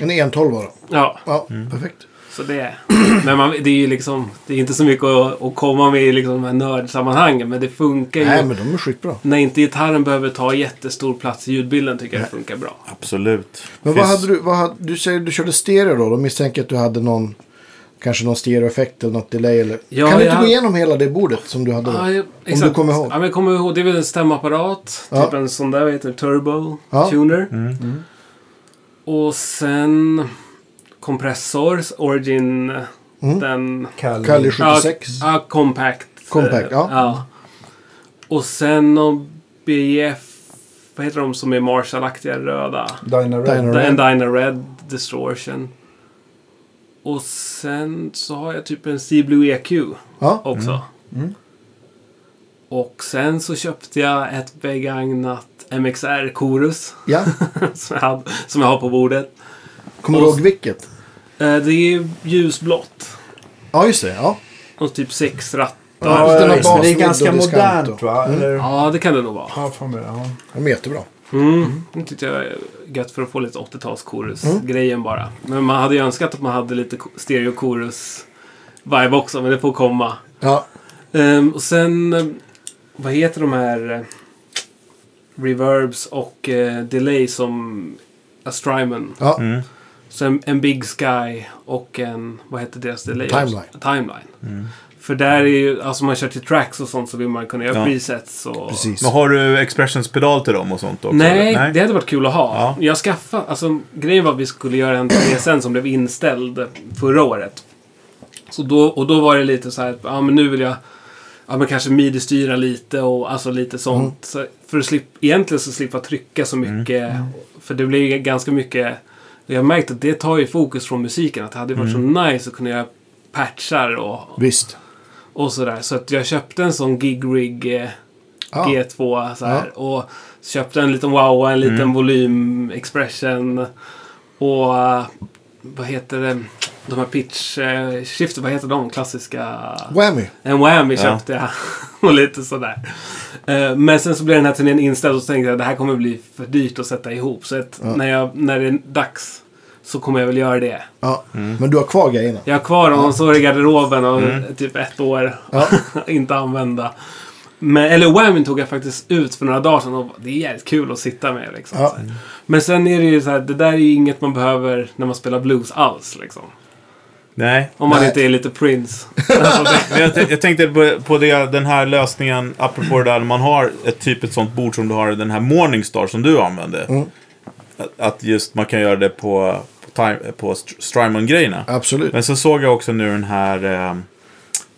ja. En 112 då. ja. Ja, Mm. perfekt. Så det, men man, det är ju liksom, det är inte så mycket att, att komma med i liksom de här nördsammanhangen. Men det funkar ju. Nej, men de är skitbra. När inte gitarren behöver ta jättestor plats i ljudbilden tycker jag det funkar bra. Absolut. Men vad Finns- hade du, vad hade, du säger du körde stereo då. Då misstänker jag att du hade någon, kanske någon stereoeffekt eller något delay. Eller. Ja, kan du inte jag gå hade- igenom hela det bordet som du hade då? Ja, jag- om du kommer ihåg. Ja, men jag kommer ihåg. Det är väl en stämapparat. Ja. Typ en sån där, vad heter det? Turbo Ja. Tuner. Och sen Compressors, Origin, Mm. den... Kalle 76. Ja, ja, Compact. Compact, ja. Och sen någon BF... Vad heter de som är Marshall-aktiga röda? Dina Red. Dino En Red. Dina Red Distortion. Och sen så har jag typ en Sea Blue EQ Ja, också. Mm. Och sen så köpte jag ett begagnat MXR Chorus ja. som, jag hade, som jag har på bordet. Kommer du Och- ihåg vilket? Eh, det är ljusblått. Ja, just det. Ja. Och typ sex rattar. Ja, Just den ja, här visst, men det är basvidd ganska och diskant modernt då. va? Eller? Ja, det kan det nog vara. Ja, fan, ja. De är jättebra. Mm. Det tyckte jag är gött för att få lite 80-tals chorus-grejen bara. Men man hade ju önskat att man hade lite ko- stereo chorus vibe också, men det får komma. Ja, Ehm, och sen, eh, vad heter de här eh, reverbs och eh, delay som Astryman? ja. Sen en Big Sky och en, vad heter deras delay? Timeline. Timeline. För där är ju, alltså om man kör till tracks och sånt så vill man kunna göra Ja. presets och... precis. Men har du expressionspedal till dem och sånt också? Nej, eller? det hade varit kul att ha. Ja. Jag skaffade, alltså grejen var att vi skulle göra en TSN som blev inställd förra året. Så då, och då var det lite så här, att, ja men nu vill jag, ja men kanske midi-styra lite och alltså lite sånt. Så för att slippa, egentligen så slippa trycka så mycket. För det blir ju ganska mycket, och jag har märkt att det tar ju fokus från musiken. Att det hade varit så nice att kunna göra patchar och, Visst. och sådär. Så att jag köpte en sån gig-rig eh, Ja. G2 så här. Och köpte en liten wow och en liten volym expression. Och eh, vad heter det? De här pitch eh, shifter, vad heter de? Klassiska? Whammy. En whammy Ja. köpte jag. och lite sådär. Eh, Men sen så blev den här turnén inställd och så tänkte jag det här kommer bli för dyrt att sätta ihop. Så att när, jag, när det är dags så kommer jag väl göra det. Ja. Mm. Men du har kvar grejerna. Jag har kvar dem och så är det i garderoben och typ ett år. Ja. inte använda. Men, eller Whammy tog jag faktiskt ut för några dagar sedan och det är jävligt kul att sitta med. Liksom, Ja. så här. Men sen är det ju så här, det där är ju inget man behöver när man spelar blues alls. Liksom. Nej. Om man Nej. inte är lite Prince. Men jag, tän- jag tänkte på, på det, den här lösningen, apropå det där man har ett typ ett sånt bord som du har, den här Morningstar som du använde. Mm. Att- Att just man kan göra det på, på, time- på Strymon-grejerna. Absolut. Men så såg jag också nu den här eh,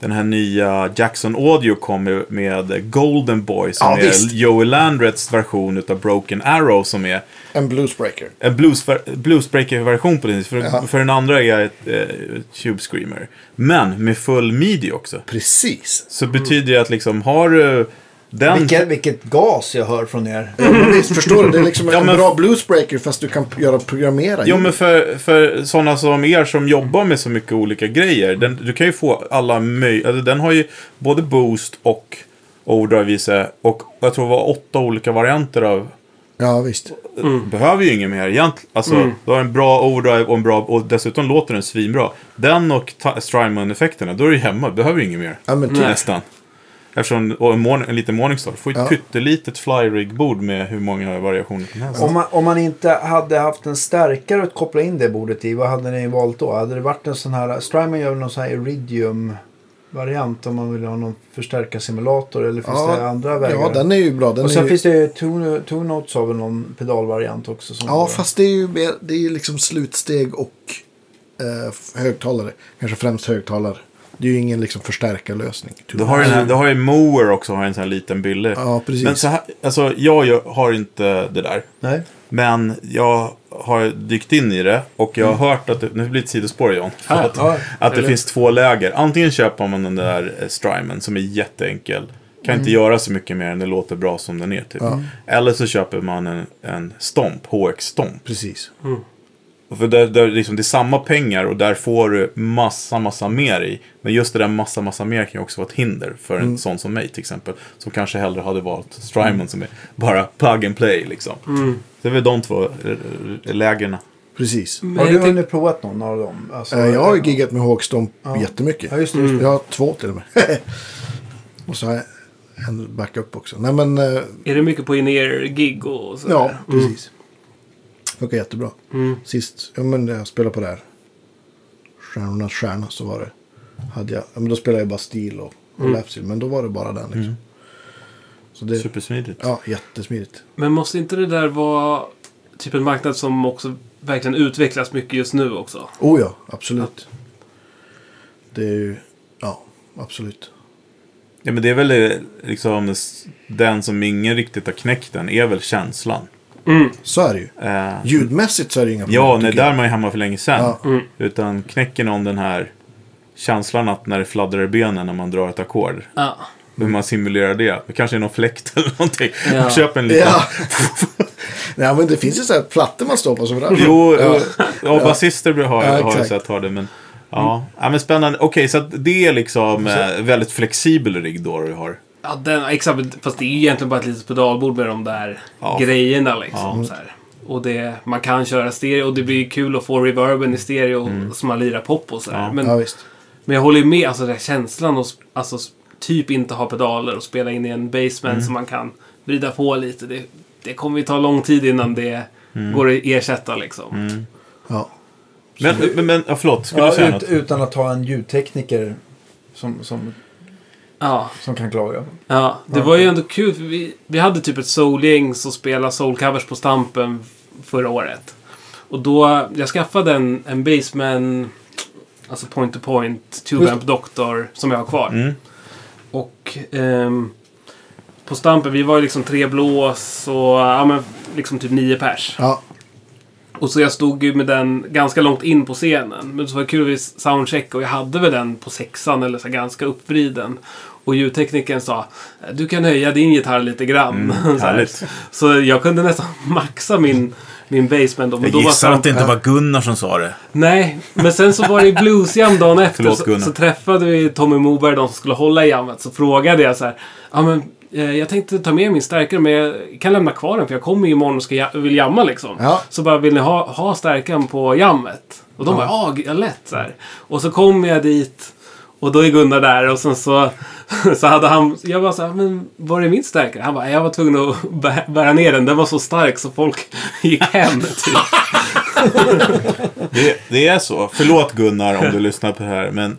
den här nya Jackson Audio kom med, med Golden Boy som Ja, är visst. Joey Landrets version utav Broken Arrow som är En bluesbreaker. en blues, bluesbreaker-version på den. För, för den andra är ett eh, Tube Screamer. Men med full midi också. Precis. Så betyder det att liksom har du den... Vilket, vilket gas jag hör från er. Men visst, förstår du? Det är liksom Ja, en men- bra bluesbreaker fast du kan p- göra programmera. Jo, men för, för sådana som er som jobbar med så mycket olika grejer. Den, du kan ju få alla möjliga. Alltså, den har ju både boost och overdrive i sig. Och jag tror det var åtta olika varianter av. Ja, visst. Behöver ju inget mer egentligen. Alltså, du har en bra overdrive och en bra. Och dessutom låter den svinbra. Den och ta- Strymon-effekterna, då är du ju hemma. Behöver ju inget mer. Ja, men typ. Nästan. Eftersom, och en, morgon, en liten morningstar. Du får ju ett Ja. pyttelitet flyrig-bord med hur många variationer som helst. Om man, om man inte hade haft en stärkare att koppla in det bordet i, vad hade ni valt då? Hade det varit en sån här, Strymon gör väl någon sån här Iridium-variant om man vill ha någon förstärkarsimulator eller finns Ja, det andra vägar? Ja, den är ju bra. Den Och sen är ju... finns det ju Two, two Notes har väl någon pedalvariant också? Som Ja, går. fast det är ju mer, det är ju liksom slutsteg och eh, högtalare. Kanske främst högtalare. Det är ju ingen liksom förstärkarlösning. typ. Du har, den här, du har ju Mower också, har en sån här liten billig. Ja, precis. Men så här, alltså, jag gör, har inte det där. Nej. Men jag har dykt in i det och jag har hört att det, nu blir det ett sidospår John. att, att det Eller? finns två läger. Antingen köper man den där eh, Strymon som är jätteenkel. Kan inte göra så mycket mer än det låter bra som den är typ. Eller så köper man en, en Stomp, HX-Stomp. Precis. För där, där, liksom, det är samma pengar och där får du massa, massa mer i. Men just det där massa, massa mer kan ju också vara ett hinder för en Mm. sån som mig till exempel. Som kanske hellre hade valt Strymon som är bara plug and play liksom. Mm. Det är väl de två eh, lägren. Precis. Har Men du jag tänk- hunnit provat någon av dem? Alltså, Eh, jag har ju giggat med Håkstomp jättemycket. Ja, just det, just Jag har två till och med. och så har jag en backup också. Nej, men eh, Är det mycket på in-ear-gig och Mm. sådär? Mm. ja, precis. Funkar jättebra. Mm. Sist, ja men jag spelade på det här. Stjärnornas stjärna så var det. Hade jag, ja, men då spelade jag bara stil och, och Mm. Lapsil, Men då var det bara den liksom. Så det, Supersmidigt. ja jättesmidigt. Men måste inte det där vara typ en marknad som också verkligen utvecklas mycket just nu också? Oh ja, absolut. Det är ju, ja absolut. Ja, men det är väl eh, liksom s- den som ingen riktigt har knäckt den är väl känslan. Så är det ju. Eh, Ljudmässigt så är det ju inga problem. Ja, nej, tycker jag. där man är hemma för länge sedan. Ja. Utan knäcker någon den här känslan att när det fladdrar i benen när man drar ett ackord. Ja. Hur man simulerar det. Det kanske är någon fläkt eller någonting. Ja. Köp en liten. Ja. Nej men det finns ju så här plattor man står på som rör. Jo, ja. och basister har, Ja, har jag exakt. sett har det. Men, ja. ja, men spännande. Okej, så att det är liksom eh, väldigt flexibel rigg då du har. Ja, den, exakt. Fast det är ju egentligen bara ett litet pedalbord med de där Ja. grejerna liksom. Så här. Och det, man kan köra stereo och det blir kul att få reverben i stereo som man lirar pop och sådär. Mm. Ja. Men, Ja visst. men jag håller ju med, alltså den här känslan och sp- alltså, s- typ inte ha pedaler och spela in i en basement Mm. som man kan vrida på lite. Det, det kommer ju ta lång tid innan det Mm. går att ersätta liksom. Ja. Men, men, men ja, förlåt, skulle du ja, säga ut, något? utan att ha en ljudtekniker som, som, Ja. som kan klaga. Ja, det var ju ändå kul. För vi, vi hade typ ett soulgäng som spelade soulcovers på Stampen förra året. Och då, jag skaffade en, en Baseman, alltså point to point, Tube-amp Doctor som jag har kvar. Mm. Och ehm, på Stampen, vi var ju liksom tre blås och ja, men, liksom typ nio pers. Ja. Och så jag stod ju med den ganska långt in på scenen. Men så var det kul vid soundcheck och jag hade väl den på sexan eller så här ganska uppvriden. Och ljudteknikern sa du kan höja din gitarr lite grann. så, här. Mm, härligt. så jag kunde nästan maxa min, min basement. då, Men då var sound- inte var Gunnar som sa det. Nej, men sen så var det ju bluesjam dagen efter. Förlåt, så, Gunnar. så träffade vi Tommy Moberg, de som skulle hålla i jammet. Så frågade jag så här. Ja, men eh, jag tänkte ta med min stärkare, men jag kan lämna kvar den för jag kommer ju imorgon och ska ja- vill jamma liksom. Ja. Så bara, vill ni ha, ha stärkan på jammet? Och de bara, ja, g- ja lätt så här. Och så kom jag dit. Och då är Gunnar där och sen så, så hade han, jag bara så här, men var är min stärkare? Han bara, jag var tvungen att bä- bära ner den, den var så stark så folk gick hem. Typ. Det, det är så. Förlåt Gunnar om du lyssnar på det här, men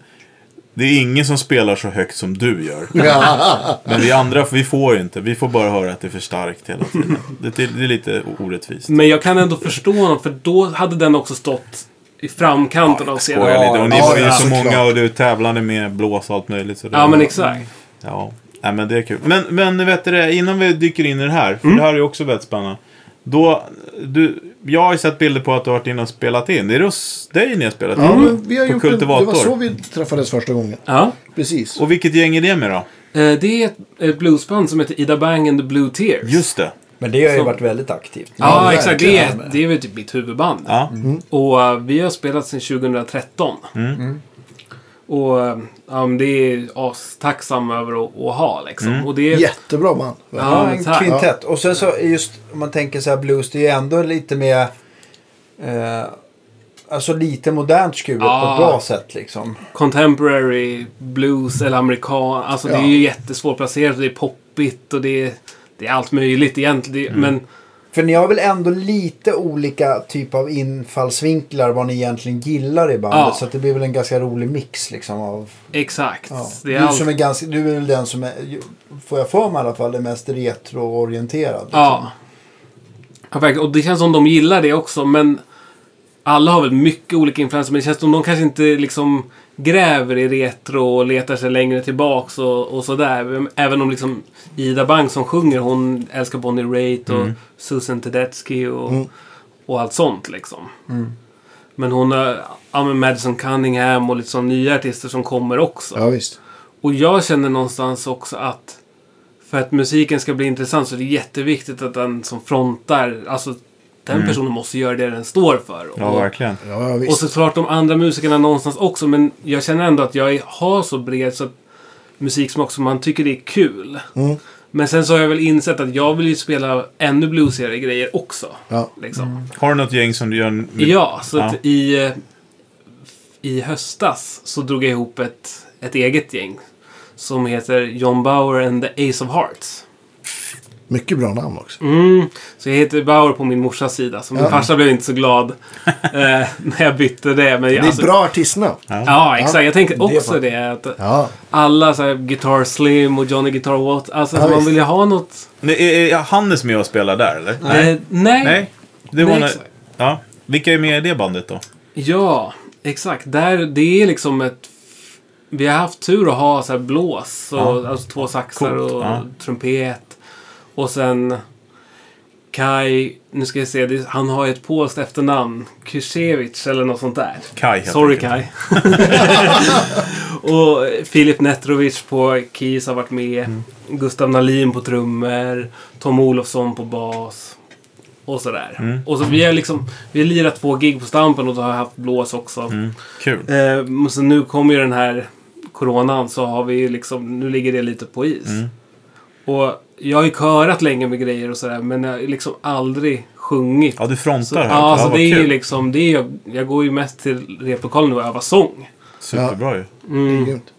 det är ingen som spelar så högt som du gör. ja. Men vi andra, vi får ju inte. Vi får bara höra att det är för starkt hela tiden. Det, det, det är lite o- orättvist. Men jag kan ändå förstå honom för då hade den också stått i framkanten av Skojar scenen. lite. Och ni ja, var ju ja, så såklart. många och du tävlade med blås och allt möjligt. Så det Ja, var- men exakt. Ja, Nej, men det är kul. Men, men vet du det, innan vi dyker in i det här, för Mm. det här är ju också väldigt spännande. Då, du, jag har ju sett bilder på att du har varit inne och spelat in. Det är hos dig ni har spelat in. Ja, men vi har på gjort en, det Kultivator. var så vi träffades första gången. Ja. Precis. Och vilket gäng är det med då? Eh, Det är ett, ett bluesband som heter Ida Bang and the Blue Tears. Just det. Men det har ju Så- varit väldigt aktivt. Ja, Ja, exakt. Det verkligen. är, det är väl typ mitt huvudband. Ja. Mm. Och eh, vi har spelat sedan 2013. Och eh, ja, men det är astacksam över att, att ha liksom. Och det är... Jättebra man. verkligen. Ja, Ja, men en tack. kvintett. Och sen så just om man tänker så här blues, det är ju ändå lite mer... Eh, alltså lite modernt skuret på Ja. ett bra sätt liksom. Contemporary blues eller amerikan. Alltså det Ja. är ju jättesvårplacerat och det är poppigt och det är, det är allt möjligt egentligen. Det- Men För ni har väl ändå lite olika typ av infallsvinklar vad ni egentligen gillar i bandet. Ja. Så att det blir väl en ganska rolig mix liksom av... exakt. Ja. Det Du, är allt... som är ganska, du är väl den som är, får jag för mig i alla fall, är mest retroorienterad. Liksom. Ja. ja verkligen. Och det känns som de gillar det också, men alla har väl mycket olika influenser, men det känns som de kanske inte liksom gräver i retro och letar sig längre tillbaks och, och sådär. Även om liksom Ida Bang som sjunger, hon älskar Bonnie Raitt och Susan Tedeschi och, Mm. och allt sånt liksom. Men hon har, ja men Madison Cunningham och lite sån nya artister som kommer också. Ja, visst. Och jag känner någonstans också att för att musiken ska bli intressant så är det jätteviktigt att den som frontar, alltså den personen måste göra det den står för. Ja, och, verkligen. Ja, ja, och visst. såklart de andra musikerna någonstans också men jag känner ändå att jag är- har så bred så att musik som också man tycker det är kul. Men sen så har jag väl insett att jag vill ju spela ännu bluesigare grejer också. Ja. Liksom. Har du något gäng som du gör... med- Ja, så Ja. att i, eh, i höstas så drog jag ihop ett, ett eget gäng som heter John Bauer and the Ace of Hearts. Mycket bra namn också. Mm. Så jag heter Bauer på min morsas sida, så min farsa blev inte så glad eh, när jag bytte det. Men jag, alltså- Det är ett bra artistnamn. Ja, exakt. Jag tänkte är också fan- det. Att Ja. alla så här, Guitar Slim och Johnny Guitar Watt. Alltså, Ja, så man visst. vill ju ha något... Nej, är, är Hannes med och spelar där, eller? Eh, nej. Nej. Det var Nej, nå- exakt. ja. Vilka är med i det bandet då? Ja, exakt. Där, det är liksom ett... Vi har haft tur att ha så här blås, och, alltså två saxar Coolt, och ja. trumpet. Och sen Kai, nu ska jag se, det, han har ju ett polskt efternamn. Kusiewicz eller något sånt där. Kai heter Sorry han. Kai. och Filip Netrovic på keys har varit med. Mm. Gustav Nalin på trummor. Tom Olofsson på bas. Och sådär. Mm. Och så vi har liksom, vi har lirat två gig på Stampen och då har jag haft blås också. Mm. Kul. Eh, men så nu kommer ju den här coronan så har vi ju liksom, nu ligger det lite på is. Mm. Och jag har ju körat länge med grejer och sådär men jag har liksom aldrig sjungit. Ja, du frontar så, här. ja, så vad det är ju kul. liksom, det är, jag, jag går ju mest till replokalen och övar sång. Superbra ju. Det är grymt.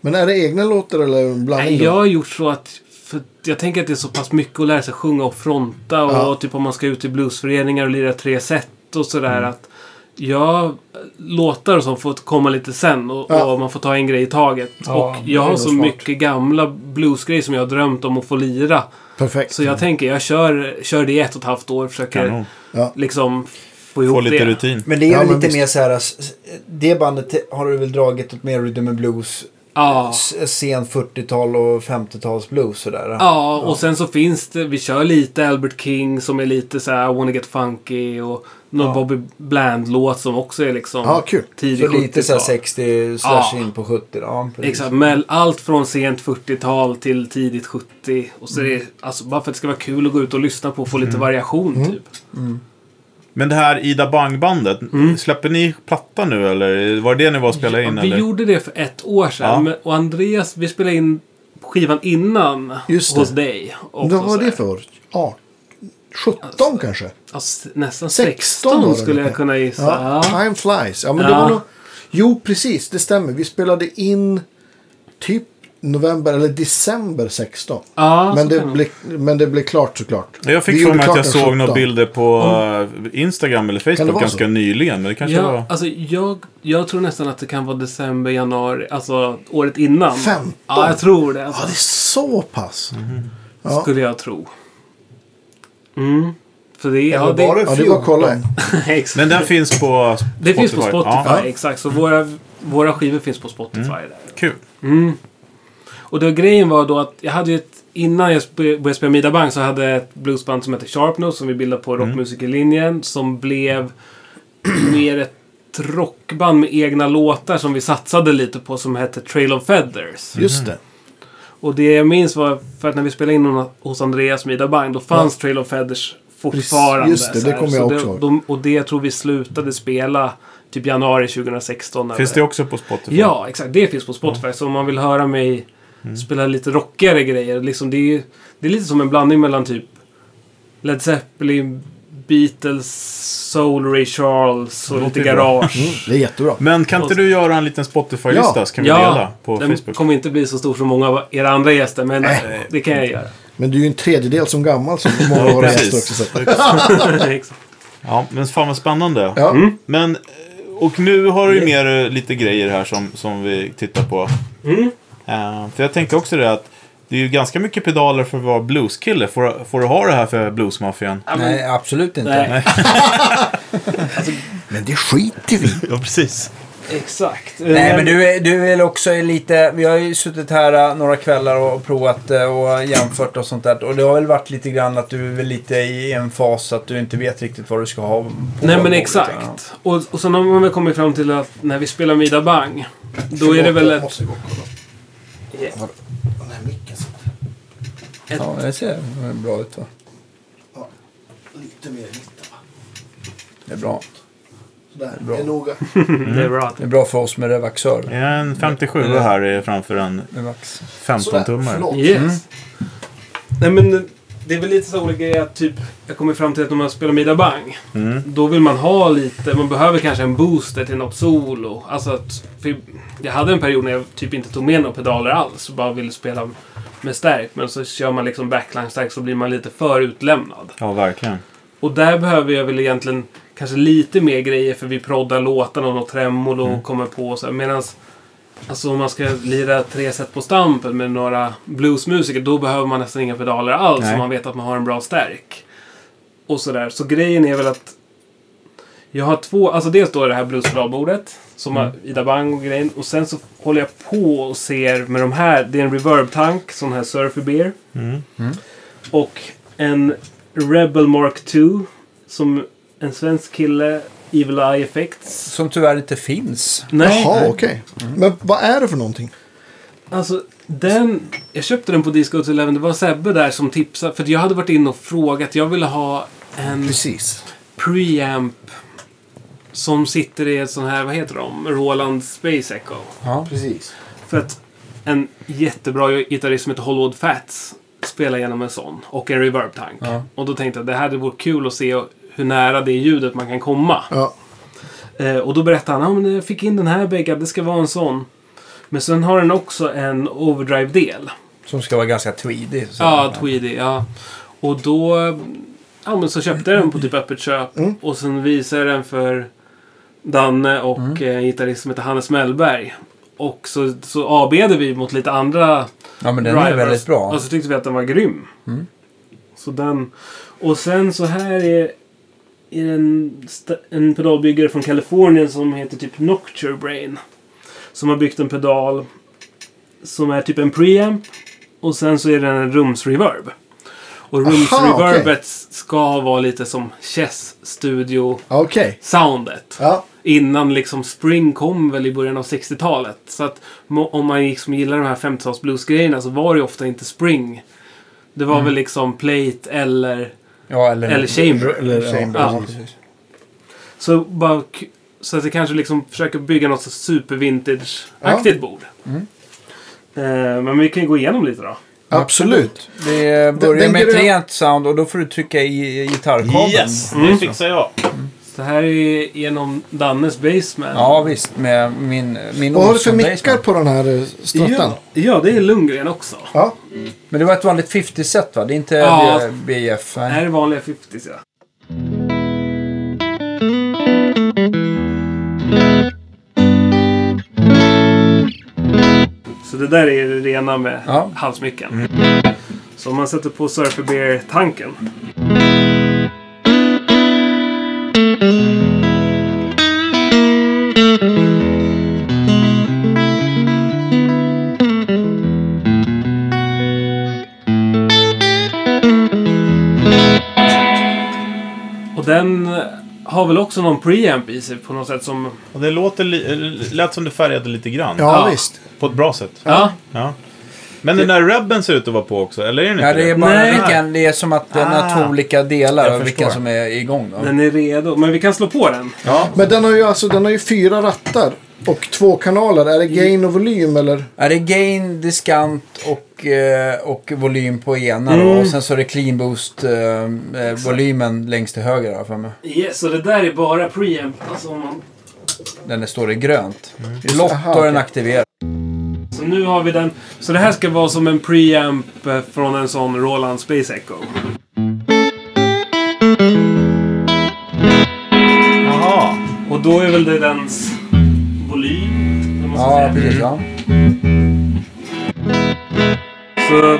Men är det egna låtar eller en blandning? Nej, då? jag har gjort så att för att jag tänker att det är så pass mycket att lära sig sjunga och fronta och typ om man ska ut i bluesföreningar och lira tre set och sådär Mm. att jag låtar som får komma lite sen och, Ja. och man får ta en grej i taget. och det är jag har nog så smart. mycket gamla bluesgrejer som jag har drömt om att få lira. Perfekt. Så jag tänker jag kör, kör det i ett och ett halvt år försöker Kanon. Ja. liksom få ihop Få lite det. rutin. Men det är Ja, väl men lite visst. mer så här, s- s- det bandet har du väl dragit åt mer rhythm and blues, Ja. s- sen 40-tal och 50-tals blues sådär. Ja, och sen så finns det, vi kör lite Albert King som är lite så här I wanna get funky och någon Bobby Bland-låt som också är liksom Ja, kul. tidig Så lite så här 70-tal. 60 slash Ja. in på 70. Ja, precis. Exakt, men allt från sent 40-tal till tidigt 70. Och så är Mm. det, alltså, bara för att det ska vara kul att gå ut och lyssna på och få lite variation Mm. typ. Men det här Ida Bang-bandet, Mm. släpper ni platta nu eller var det det ni var och spelade in? Ja, vi eller? gjorde det för ett år sedan. Ja. Men, och Andreas, vi spelade in skivan innan Just det. hos dig. också, Vad var så här. det för år? Ja. 17 kanske? Ja, s- nästan 16 16, var det skulle jag lite. kunna gissa. Ja. Ja. Time flies. Ja, men det Ja. var nog... Jo, precis. Det stämmer. Vi spelade in typ november eller december 16. Ja, men, så det kan det blev, men det blev klart såklart. Jag Vi fick för gjorde mig att klart jag den såg 17. några bilder på eh, Instagram Mm. eller Kan det Facebook vara ganska så? nyligen. Men det kanske Ja, var... alltså jag, jag tror nästan att det kan vara december, januari, alltså året innan. 15? Ja, jag tror det. Alltså, Ja, det är så pass. Ja. Skulle jag tro. Mm. Så det, är- ja, Eller var det, Ja, det det var 14? kolla. exakt. Men den finns på Spotify? det finns på Spotify, Ja, Mm. exakt. Så våra, våra skivor finns på Spotify. Där. kul. Och då, grejen var då att jag hade ju ett... Innan jag sp- började spela Mida Bang så hade jag ett bluesband som hette Sharpnose som vi bildade Mm. på rockmusikerlinjen. Som blev mer ett rockband med egna låtar som vi satsade lite på som hette Trail of Feathers. Just det. Och det jag minns var för att när vi spelade in hos Andreas Mida Bang då fanns Trail of Feathers fortfarande. Precis, just det, så här. det kommer Så jag också ihåg. de, Och det tror vi slutade spela typ januari 2016. när Finns vi- det också på Spotify? Ja, exakt. Det finns på Spotify. Så om man vill höra mig Mm. spela lite rockigare grejer. Liksom det, är, ju- det är lite som en blandning mellan typ Led Zeppelin, Beatles, Soul, Ray Charles och lite låter ju bra. garage. Det är jättebra. Men kan inte du göra en liten Spotify-lista Ja. så kan vi dela på den Facebook? kommer inte bli så stor som många av era andra gäster, men det kan jag göra. Men du är ju en tredjedel som gammal som många av våra gäster också. Så. Exakt. Ja, men fan vad spännande. Ja. Mm. Men, eh, och nu har du ju mer eh, lite grejer här som, som vi tittar på. Eh, för jag tänkte också det att det är ju ganska mycket pedaler för att vara blueskille. Får, får du ha det här för bluesmaffian? Nej, absolut inte. Nej, Men det skiter vi i. Ja, precis. exakt. Eh, Nej, men du är, du är väl också lite... Vi har ju suttit här eh, några kvällar och provat eh, och jämfört och sånt där. Och det har väl varit lite grann att du är väl lite i en fas att du inte vet riktigt vad du ska ha. på Nej men bordet, ja. exakt. Och, och sen har man väl kommit fram till att när vi spelar Mida Bang, då är det väl ett... Måste gå och kolla. Yeah. Var- var den här micken satt? Ja, det ser bra ut va? Lite mer i mitten va? Det är bra. Sådär, det är noga. Mm. Det är bra att Det är bra för oss med revaxör. Jag är en 57 här är framför en Med vax. Sådär, 15-tummare. förlåt. Yes. Nej men det är väl lite så olika grejer att typ jag kommer fram till att när man spelar Mida Bang. Då vill man ha lite, man behöver kanske en booster till något solo. Alltså att, för jag hade en period när jag typ inte tog med några pedaler alls och bara ville spela med stärk. Men så kör man liksom backline stärk så blir man lite för utlämnad. Ja, verkligen. Och där behöver jag väl egentligen kanske lite mer grejer för vi proddar låtarna och något tremolo och kommer på och så här. Medan alltså, om man ska lira tre set på stampen med några bluesmusiker då behöver man nästan inga pedaler alls Nej. om man vet att man har en bra stärk. Och sådär. Så grejen är väl att jag har två, alltså dels då det här bluespedalbordet som har Ida Bang och grejen och sen så håller jag på och ser med de här, det är en reverb-tank, sån här Surfer Beer. Och en Rebel Mark 2 som en svensk kille, Evil Eye Effects. Som tyvärr inte finns. Nej, Jaha, okej. Mm. Men vad är det för någonting? alltså den... Jag köpte den på Disco 11. Det var Sebbe där som tipsade. För jag hade varit inne och frågat. Jag ville ha en Precis. preamp som sitter i ett sån här, vad heter de? Roland Space Echo. Ja, precis. För att en jättebra gitarrist som heter Hollywood Fats spelar genom en sån och en reverb-tank. Och då tänkte jag det här det vore kul att se hur nära det ljudet man kan komma. Ja. Eh, och då berättade han att men jag fick in den här Begga, det ska vara en sån. Men sen har den också en overdrive-del. Som ska vara ganska tweedy. så. Ja, Tweedy. Ja. Och då ja, men så köpte jag den på typ öppet köp. Och sen visade jag den för Danne och eh, en gitarrist som heter Hannes Mellberg. Och så, så AB'ade vi mot lite andra ja, men den är drivers. Alltså, väldigt bra. Mm. Och så tyckte vi att den var grym. Så den... Och sen så här är, är en, st- en pedalbyggare från Kalifornien som heter typ Nocture Brain. Som har byggt en pedal som är typ en preamp. Och sen så är den en rumsreverb. Och Aha, okej. rumsreverbet ska vara lite som Chess Studio Okej. soundet. Ja. Innan liksom Spring kom väl i början av 60-talet. Så att må- om man liksom gillar de här 50-tals bluesgrejerna så var det ju ofta inte Spring. Det var väl liksom Plate eller... Ja, eller, Eller Chamber. Eller, chamber. Ja. precis. Så, bara, k- så att det kanske liksom försöker bygga något så supervintage-aktigt bord. Eh, men vi kan ju gå igenom lite då. Absolut. Vi börjar Den- med ett den- rent sound och då får du trycka i gitarrkabeln. Yes, det fixar jag. Så här är genom Dannes basement. Ja, visst. Med min, min Vad har du för Olsson mickar basement. på den här eh, struttan? ja, ja, det är Lundgren också. Ja. Men det var ett vanligt 50-set va? Det är inte Ja. eh, B- BF? Det Nej. här är vanliga 50s ja. Så det där är det rena med Ja. halsmycken. Så om man sätter på Surfer Bear-tanken. Och den eh, har väl också någon preamp i sig på något sätt som... Och det låter li- eh, lät som du färgade lite grann. Ja, Ja. visst. På ett bra sätt. Ja. Ja. Men den där rubben ser ut att vara på också, eller är den inte Ja, det är bara Nej. vilken, det är som att den har två olika delar Jag och vilken förstår. som är igång. Då. Den är redo. Men vi kan slå på den. Ja. Men den har ju, alltså, den har ju fyra rattar och två kanaler. Är det gain och volym eller? Ja, det är gain, diskant och, eh, och volym på ena Mm. då. Och sen så är det clean boost eh, eh, volymen längst till höger har jag för mig. Yes, och det där är bara preamp. Alltså om man... Den där står i grönt. Blått Mm. Aha, har den okej. aktiverad. Så nu har vi den. Så det här ska vara som en preamp eh, från en sån Roland Space Echo. Jaha. Och då är väl det dens volym. eller vad man ska Ja, säga. precis. Ja. Så,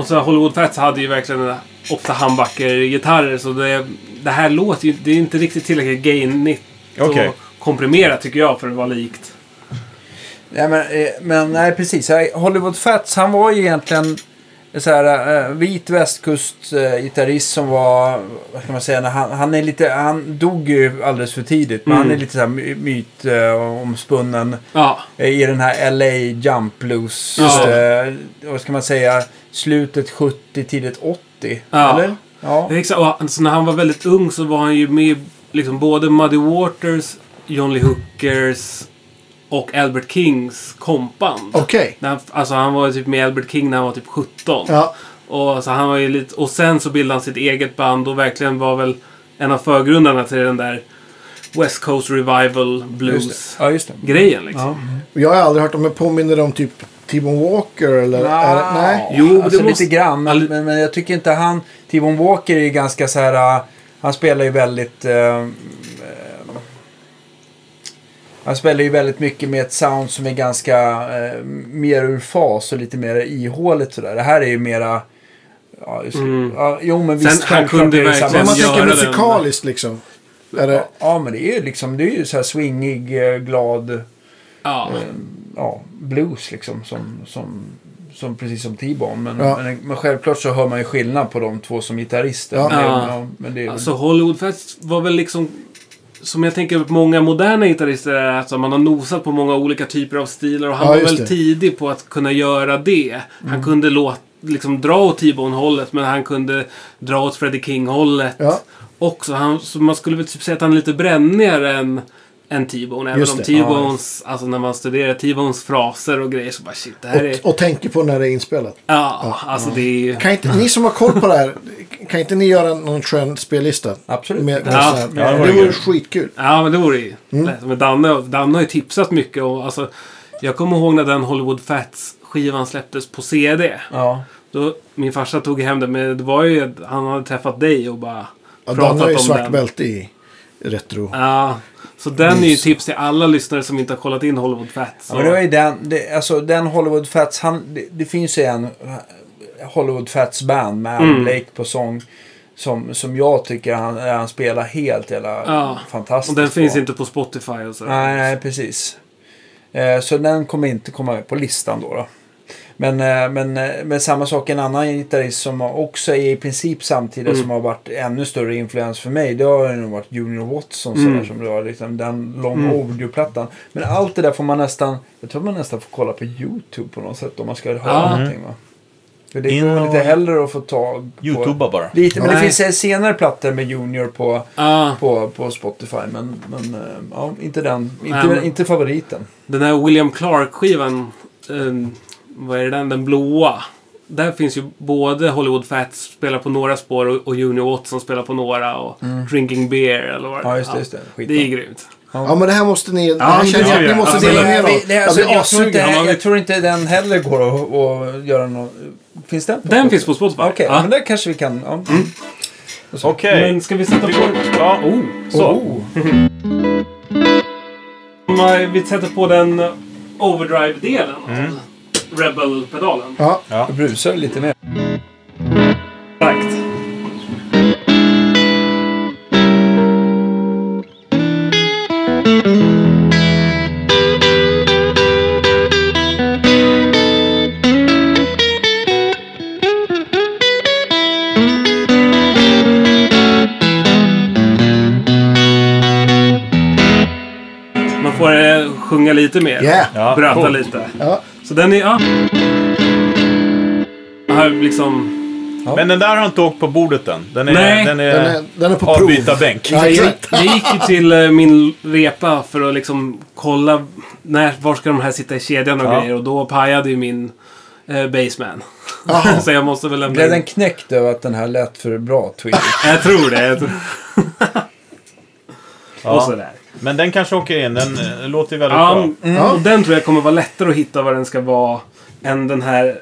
och så Hollywood Fats hade ju verkligen ofta humbucker-gitarrer så det, det här låter ju det är inte riktigt tillräckligt gainigt Okej. och komprimerat tycker jag för att vara likt. Nej, men, eh, men nej, precis. Eh, Hollywood Fats, han var ju egentligen så här, eh, vit västkustgitarrist som var, vad ska man säga, när han, han, är lite, han dog ju alldeles för tidigt. Men Mm. han är lite så här my- myt, eh, omspunnen Ja, eh, i den här LA Jump Blues. Just eh, vad ska man säga, slutet 70, tidigt 80. Ja. Eller? Ja. exakt. Och han- så när han var väldigt ung så var han ju med i liksom både Muddy Waters, John Lee Hookers och Albert Kings kompband. Okej. När han- Alltså han var ju typ med Albert King när han var typ 17. Ja. Och, så han var ju lite, och sen så bildade han sitt eget band och verkligen var väl en av förgrundarna till den där West Coast Revival Just det. Blues-grejen. Ja, just det. liksom. Jag har aldrig hört om, men påminner det om typ Timon Walker eller? Är det, nej. Jo, men det alltså, måste- lite grann. Men, All- men, men jag tycker inte han... Timon Walker är ju ganska så här... äh, Han spelar ju väldigt... eh, eh, han spelar ju väldigt mycket med ett sound som är ganska eh, mer ur fas och lite mer ihåligt sådär. Det här är ju mera... Ja, just, Mm. ja, jo, men Sen, visst. han självklart kunde är det verkligen Men samma- om man tänker göra den- musikaliskt liksom. Är det, Ja, men det är ju liksom... Det är ju så här swingig, eh, glad Ja. eh, ja, blues liksom. Som, som, som, precis som T-Bone. Men, Ja. men, men självklart så hör man ju skillnad på de två som gitarrister. Ja. Men, Ja. men det är väl- Alltså Hollywoodfest var väl liksom... Som jag tänker på många moderna gitarrister är att man har nosat på många olika typer av stilar och han Ja, var just väl det. Mm. tidig på att kunna göra det. Han kunde låt, liksom dra åt T-Bone-hållet men han kunde dra åt Freddie King-hållet Ja. också. Han, så man skulle väl typ säga att han är lite brännigare än, än T-Bone. Även Just om det. T-Bones, alltså när man studerar T-Bones fraser och grejer så bara shit, det här är... och, och tänker på när det är inspelat. Ja, alltså det är ju... Kan inte, ni som har koll på det här, kan inte ni göra någon skön spellista? Absolut. Med, med Ja. så här, Ja, det vore det vore kul. skitkul. Ja, men det vore ju Mm. lätt. Men Danne, Danne har ju tipsat mycket. Och, alltså, jag kommer ihåg när den Hollywood Fats-skivan släpptes på CD. ja. Då, min farsa tog hem den, men det var ju han hade träffat dig och bara Ja, Dan pratat har ju om svart den. bälte i retro. Ja, så den är ju tips till alla lyssnare som inte har kollat in Hollywood Fats. Ja, men det var ju den, det, alltså den Hollywood Fats, han, det, det finns ju en eh, Hollywood Fats band med Al Mm. Blake på sång. Som, som jag tycker han, han spelar helt jävla Ja. fantastiskt och den finns bra. inte på Spotify och så. Nej, nej precis. Eh, Så den kommer inte komma med på listan då. då. Men, eh, men, eh, men samma sak, en annan gitarrist som också är i princip samtidigt Mm. som har varit ännu större influens för mig. Det har ju nog varit Junior Watson sådär, Mm. som det var liksom, den långa audioplattan. Men allt det där får man nästan, jag tror man nästan får kolla på YouTube på något sätt om man ska höra Ja. någonting. Va? För det In går och- lite hellre att få tag på. Youtuba bara. Lite, men det Nej. finns eh, senare plattor med Junior på Ja, på, på Spotify. Men, men eh, ja, inte den. Inte, Nej, men- inte favoriten. den här William Clark-skivan, eh, vad är den? Den blåa. Där finns ju både Hollywood Fats spelar på några spår och, och Junior Watson spelar på några och Drinking Beer eller vad Mm. Ja, just det. Just det. Ja, Skit det är grymt. Ja, men det här måste ni... det men här det känns, ska att vi ni göra. måste Alltså, dela det- med vi- er det- av. Jag alltså, blir jag, tror inte, assugen. Ja, man jag vet- tror inte den heller går att, att göra någon... Finns den? På Den finns på Spotify. Okej, Ja. Mm. men där kanske vi kan... Ja. Okej. Men ska vi sätta på... Ja. Oh, Mm. så. Om Oh. Vi sätter på den overdrive-delen Mm. av Rebel-pedalen. Ja, Jag brusar lite mer. Mm. Exakt. Man får eh, sjunga lite mer. Yeah. Ja, Bröta coolt. lite. Ja. Så den är... Ja. Jag har liksom... Men den där har inte åkt på bordet än. Den är, Nej. Den är, Den, är, den är på prov. avbytarbänk. Ja, Jag, jag, exakt. jag gick ju till eh, min repa för att liksom kolla när, var ska de här sitta i kedjan och Ja. grejer. Och då pajade ju min eh, baseman. så jag måste väl lämna Blev in. den knäckt över att den här lät för bra, Twiggy? Jag tror det. Jag tror... Och Ja. sådär. Men den kanske åker in. Den eh, låter ju väldigt Ja, bra. mm. och den tror jag kommer vara lättare att hitta vad den ska vara än den här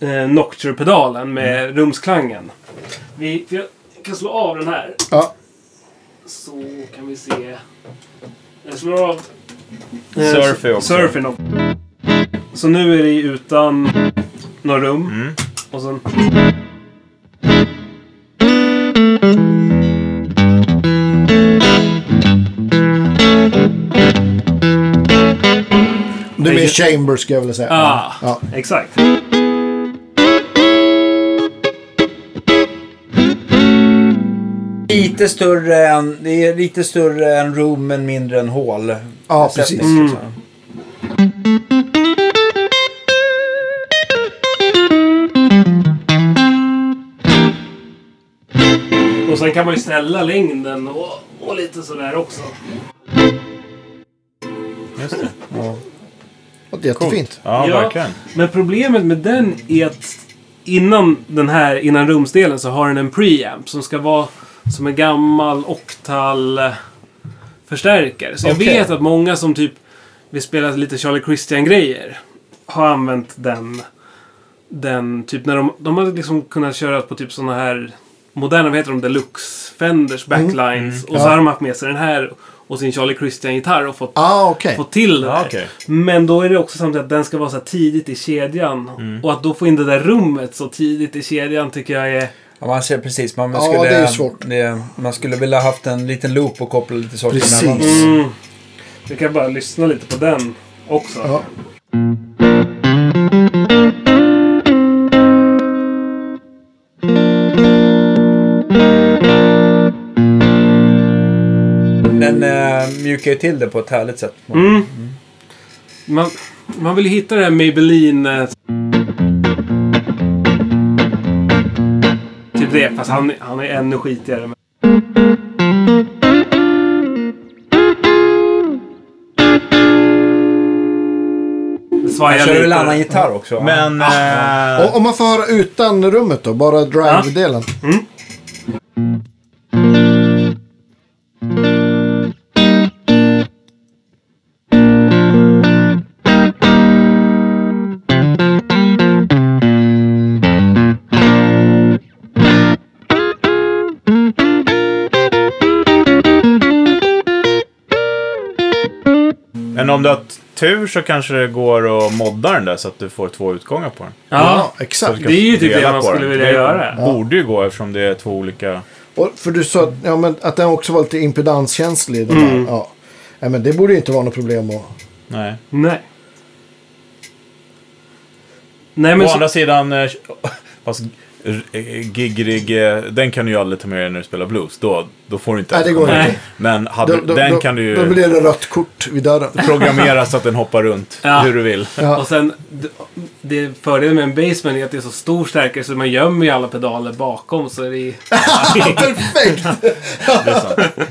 eh, Nocture-pedalen med rumsklangen. Vi, för jag kan slå av den här. Ja. Så kan vi se. Jag slår av... Surfy också. Surfing också. Så nu är det ju utan några rum. Mm. Och sen... Det är mer chamber skulle jag vilja säga. Ah, Ja. exakt. Lite större än, det är lite större än room men mindre än hål. Ja, precis. Mm. Och sen kan man ju ställa längden och, och lite sådär också. Just det. Det är Jättefint. Ja, Ja. verkligen. Men problemet med den är att innan den här, innan rumsdelen så har den en preamp som ska vara som en gammal Octal eh, förstärkare. Så jag Okej. vet att många som typ vill spela lite Charlie Christian-grejer har använt den. Den typ när de, de hade liksom kunnat köra på typ såna här moderna, vad heter de, deluxe Fenders backlines. Och så Ja. har de haft med sig den här och sin Charlie Christian-gitarr och fått Ah, okej. få till det Ja, där. okej. Men då är det också samtidigt att den ska vara så här tidigt i kedjan. Och att då få in det där rummet så tidigt i kedjan tycker jag är... Ja, man ser precis. Man Ja, skulle, det är svårt. det- man skulle vilja haft en liten loop och koppla lite saker Precis. emellan. Mm. Jag kan bara lyssna lite på den också. Ja. Den eh, mjukar ju till det på ett härligt sätt. Mm. Man, man vill ju hitta det här Maybelline... eh, Typ det, fast han, han är ännu skitigare. Men... Det svajar Jag kör väl lite. annan gitarr också? va? Men... eh, Och om man får höra utan rummet då, bara drive-delen. Men om du har tur så kanske det går att modda den där så att du får två utgångar på den. Ja, exakt. Det är ju typ Dela det man på skulle den. vilja Det göra. borde ju gå eftersom det är två olika... Och för du sa att- ja, men att den också var lite impedanskänslig. Den Mm. där. Ja. Nej, men det borde ju inte vara något problem att... Nej. Nej. Nej men Å andra så, sidan... eh, Fast r- eh, giggrig... eh, Den kan du ju aldrig ta med dig när du spelar blues. Då, då får du inte... Nej, det går Nej. inte. Men hade, Då, då, den då, kan du då ju blir det rött kort vid dörren. programmera så att den hoppar runt Ja. hur du vill. Ja. och sen, d- det fördelen med en basement är att det är så stor stärkare så man gömmer ju alla pedaler bakom så är det ju- Perfekt! Det är sant.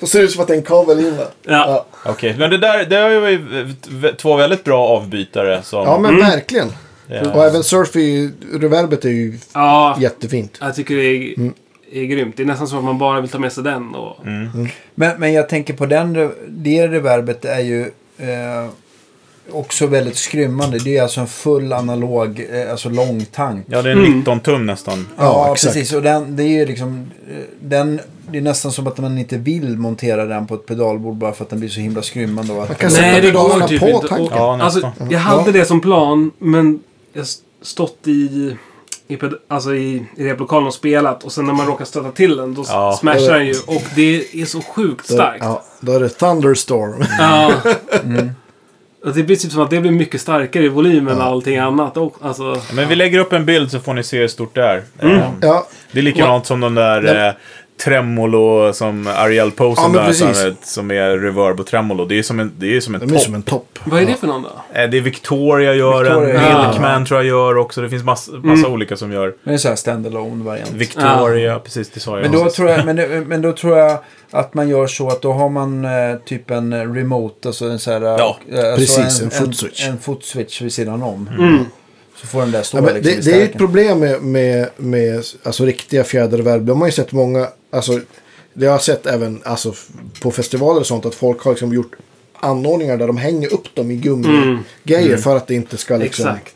Då ser det ut som att det är en kabel in där. Ja. Okej, men det där det är ju eh, v- två väldigt bra avbytare som... Ja, men verkligen. eh, Och även surfy, reverbet är ju Ja, jättefint. jag tycker det är, Mm. är grymt. Det är nästan så att man bara vill ta med sig den. Och, Men, men jag tänker på den, re- det reverbet är ju eh, också väldigt skrymmande. Det är alltså en full analog, eh, alltså lång tank. Ja, det är en 19 tum nästan. Ja, Ja, exakt. precis. Och den, det är ju liksom, eh, den, det är nästan som att man inte vill montera den på ett pedalbord bara för att den blir så himla skrymmande. Och att kan sätta pedalerna på tanken. Och, Ja, typ alltså, nästan. jag hade det som plan, men jag s- stått i... I, ped- alltså i, i replokalen och spelat och sen när man råkar stöta till den då s- Ja. smashar den ju och det är så sjukt starkt. Ja, då är det Thunderstorm. Mm. Ja. Mm. Och Det blir typ som att det blir mycket starkare i volym än allting annat. Och, alltså, Men vi lägger upp en bild så får ni se hur stort det är. Eh, Ja, Det är likadant som de där eh, tremolo som Ariel Posen Ja, men där, som, precis. är- som är reverb och tremolo. Det är som en, det är som en De är topp. som en topp. Vad är det för någon då? Eh, Det är Victoria gör Victoria en, gör en. Bill Kman tror jag gör också. Det finns massa, massa olika som gör. Det är en sån här standalone variant. Victoria, precis det sa jag. Men då, tror jag, men, men då tror jag att man gör så att då har man eh, typ en remote, alltså en sån här... Ja, eh, alltså precis, en footswitch. En, en footswitch vid sidan om. Mm. Så får den där stå Ja, men liksom det, i det är ju ett stärken. problem med, med, med alltså, riktiga fjäderverb. De har ju sett många, alltså, det har jag sett även alltså, f- på festivaler och sånt, att folk har liksom gjort anordningar där de hänger upp dem i gummigrejer för att det inte ska liksom, Exakt.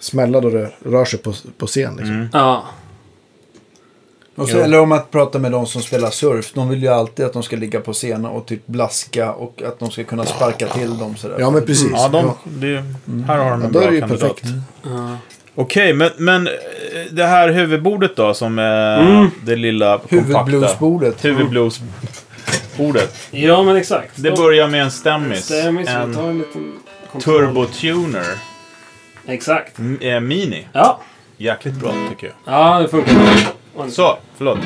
smälla då det rör sig på, på scen. Liksom. Ja. Och så, eller om att prata med de som spelar surf. De vill ju alltid att de ska ligga på scenen och typ blaska och att de ska kunna sparka till dem sådär. Ja, men precis. Ja, de, Ja. det, här har de en Ja, då bra är det ju kandidat. perfekt. Ja. Okej, men, men eh, det här huvudbordet då, som är det lilla kompakta. Huvudbluesbordet. Huvudbluesbordet. ja, men exakt. Det Då- börjar med en stemmis. Stämmer, så vi en tar en liten... kontroll. turbotuner. Exakt. M- eh, Mini. Ja. Jäkligt bra tycker jag. Ja, det funkar. Så, förlåt.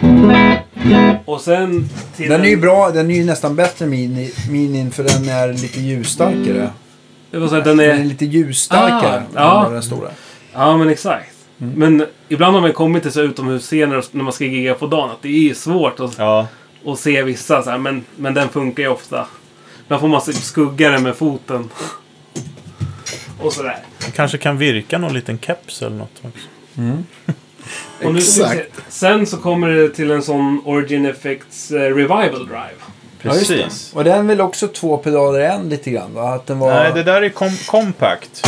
Och sen... Till Den är ju bra, den är ju nästan bättre mini, minin för den är lite ljusstarkare. Det var så här, den Den är är... lite ljusstarkare Ah, ja. än den stora. Ja, men exakt. Mm. Men ibland har man kommit till så här utomhusscener och s- när man ska gigga på dagen att det är svårt att, Ja. att se vissa så här, men, men den funkar ju ofta. Där får man typ skugga den med foten. Och sådär. Det kanske kan virka någon liten keps eller något. också. Och nu ska vi se. Exakt. Sen så kommer det till en sån Origin Effects eh, Revival Drive. just det. Precis. Och den vill också två pedaler i en lite grann va? Att den var... Nej, det där är kom- compact.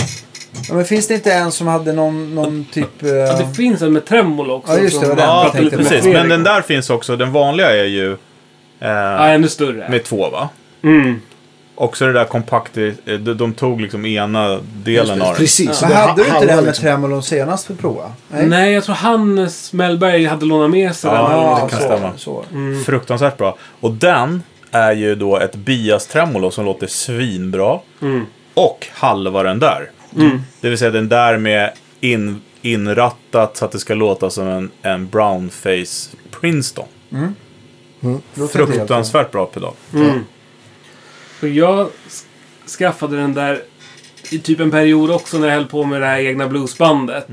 ja, men finns det inte en som hade någon, någon typ... eh, Ja, det finns en med tremolo också. Ja, just det, var som- den. Ja, jag tänkte på. precis. Fredrik. Men den där finns också. Den vanliga är ju Ja, eh, ännu större. med två, va? Mm. Också det där kompakt. eh, De, de tog liksom ena delen av den. Precis. så Men det ha- hade du inte handlar den med liksom- tremolon senast vi provade? Nej, jag tror Hannes Mellberg hade lånat med sig den. Ja, eller något det kan stämma. sånt. Så. Fruktansvärt bra. Och den är ju då ett bias-tremolo som låter svinbra. Och halva den där. Det vill säga den där med in, inrattat så att det ska låta som en, en brownface Princeton. Låter inte helt fel. Fruktansvärt bra pedal. För jag s- skaffade den där i typ en period också när jag höll på med det här egna bluesbandet.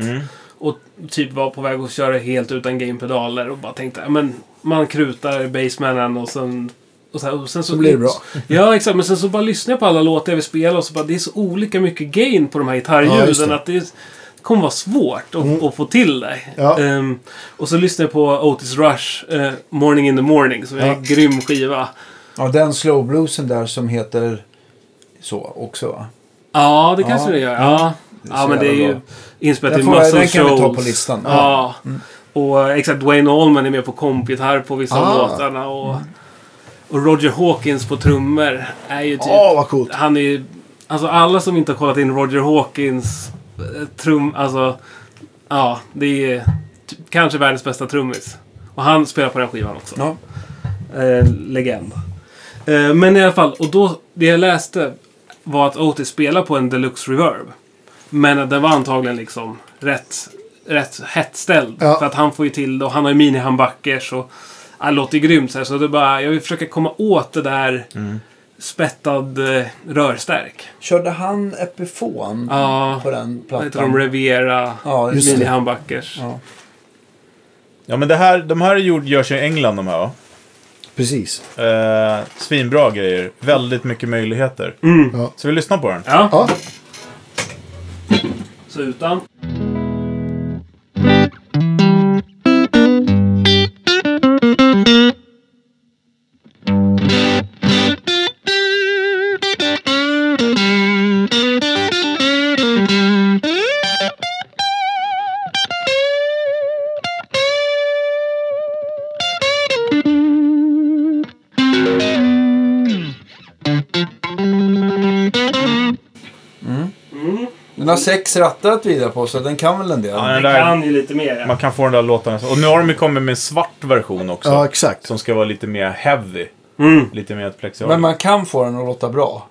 Och typ var på väg att köra helt utan gamepedaler och bara tänkte "Ja, men man krutar basemanen och sen och så, här, och sen så, blir det bra. Ja, exakt. Men sen så bara lyssnade jag på alla låtar jag vill spela och så bara det är så olika mycket gain på de här Ja, gitarrljuden just det. att det är, kommer vara svårt att, att få till det. Ja. Ehm, och så lyssnade jag på Otis Rush, eh, Morning in the Morning, som är en grym skiva. Ja, den slowbluesen där som heter så också va? Ja, det kanske det gör. Ja, ja så men det är jävla ju bra. inspelat i Den, får, Muscle den kan vi ta Shoals. på listan. Ja. Och eh, exakt, Dwayne Allman är med på kompgitarr på vissa av Ah. låtarna. Och, och Roger Hawkins på trummor är ju typ... Ah. Åh, vad coolt. Han är ju... Alltså alla som inte har kollat in Roger Hawkins eh, trum... Alltså... Ja, det är typ, kanske världens bästa trummis. Och han spelar på den skivan också. Ja. Eh, legend. Eh, men i alla fall, och då, det jag läste var att Otis spelar på en deluxe reverb. Men att den var antagligen liksom rätt, rätt hettställd. Ja. För att han får ju till det och han har ju minihandbackers och... Ja, det låter ju grymt så här, så det är bara, jag vill försöka komma åt det där spettad eh, rörstärk. Körde han Epifon Ja, på den vad heter de? plattan? Revera, Ja, just det. minihandbackers. Ja. Ja, men det här, de här är gjord, görs i England de här va? Precis. Eh, svinbra grejer. Väldigt mycket möjligheter. Ja. Så vi lyssnar på den. Ja, Ja, så utan. Den har sex rattar att vrida på så den kan väl en del. Ja, den Det där, kan ju lite mer. ja. man kan få den där låten. Och nu har de ju kommit med en svart version också. ja exakt. Som ska vara lite mer heavy. Lite mer plexigare. Men man kan få den att låta bra.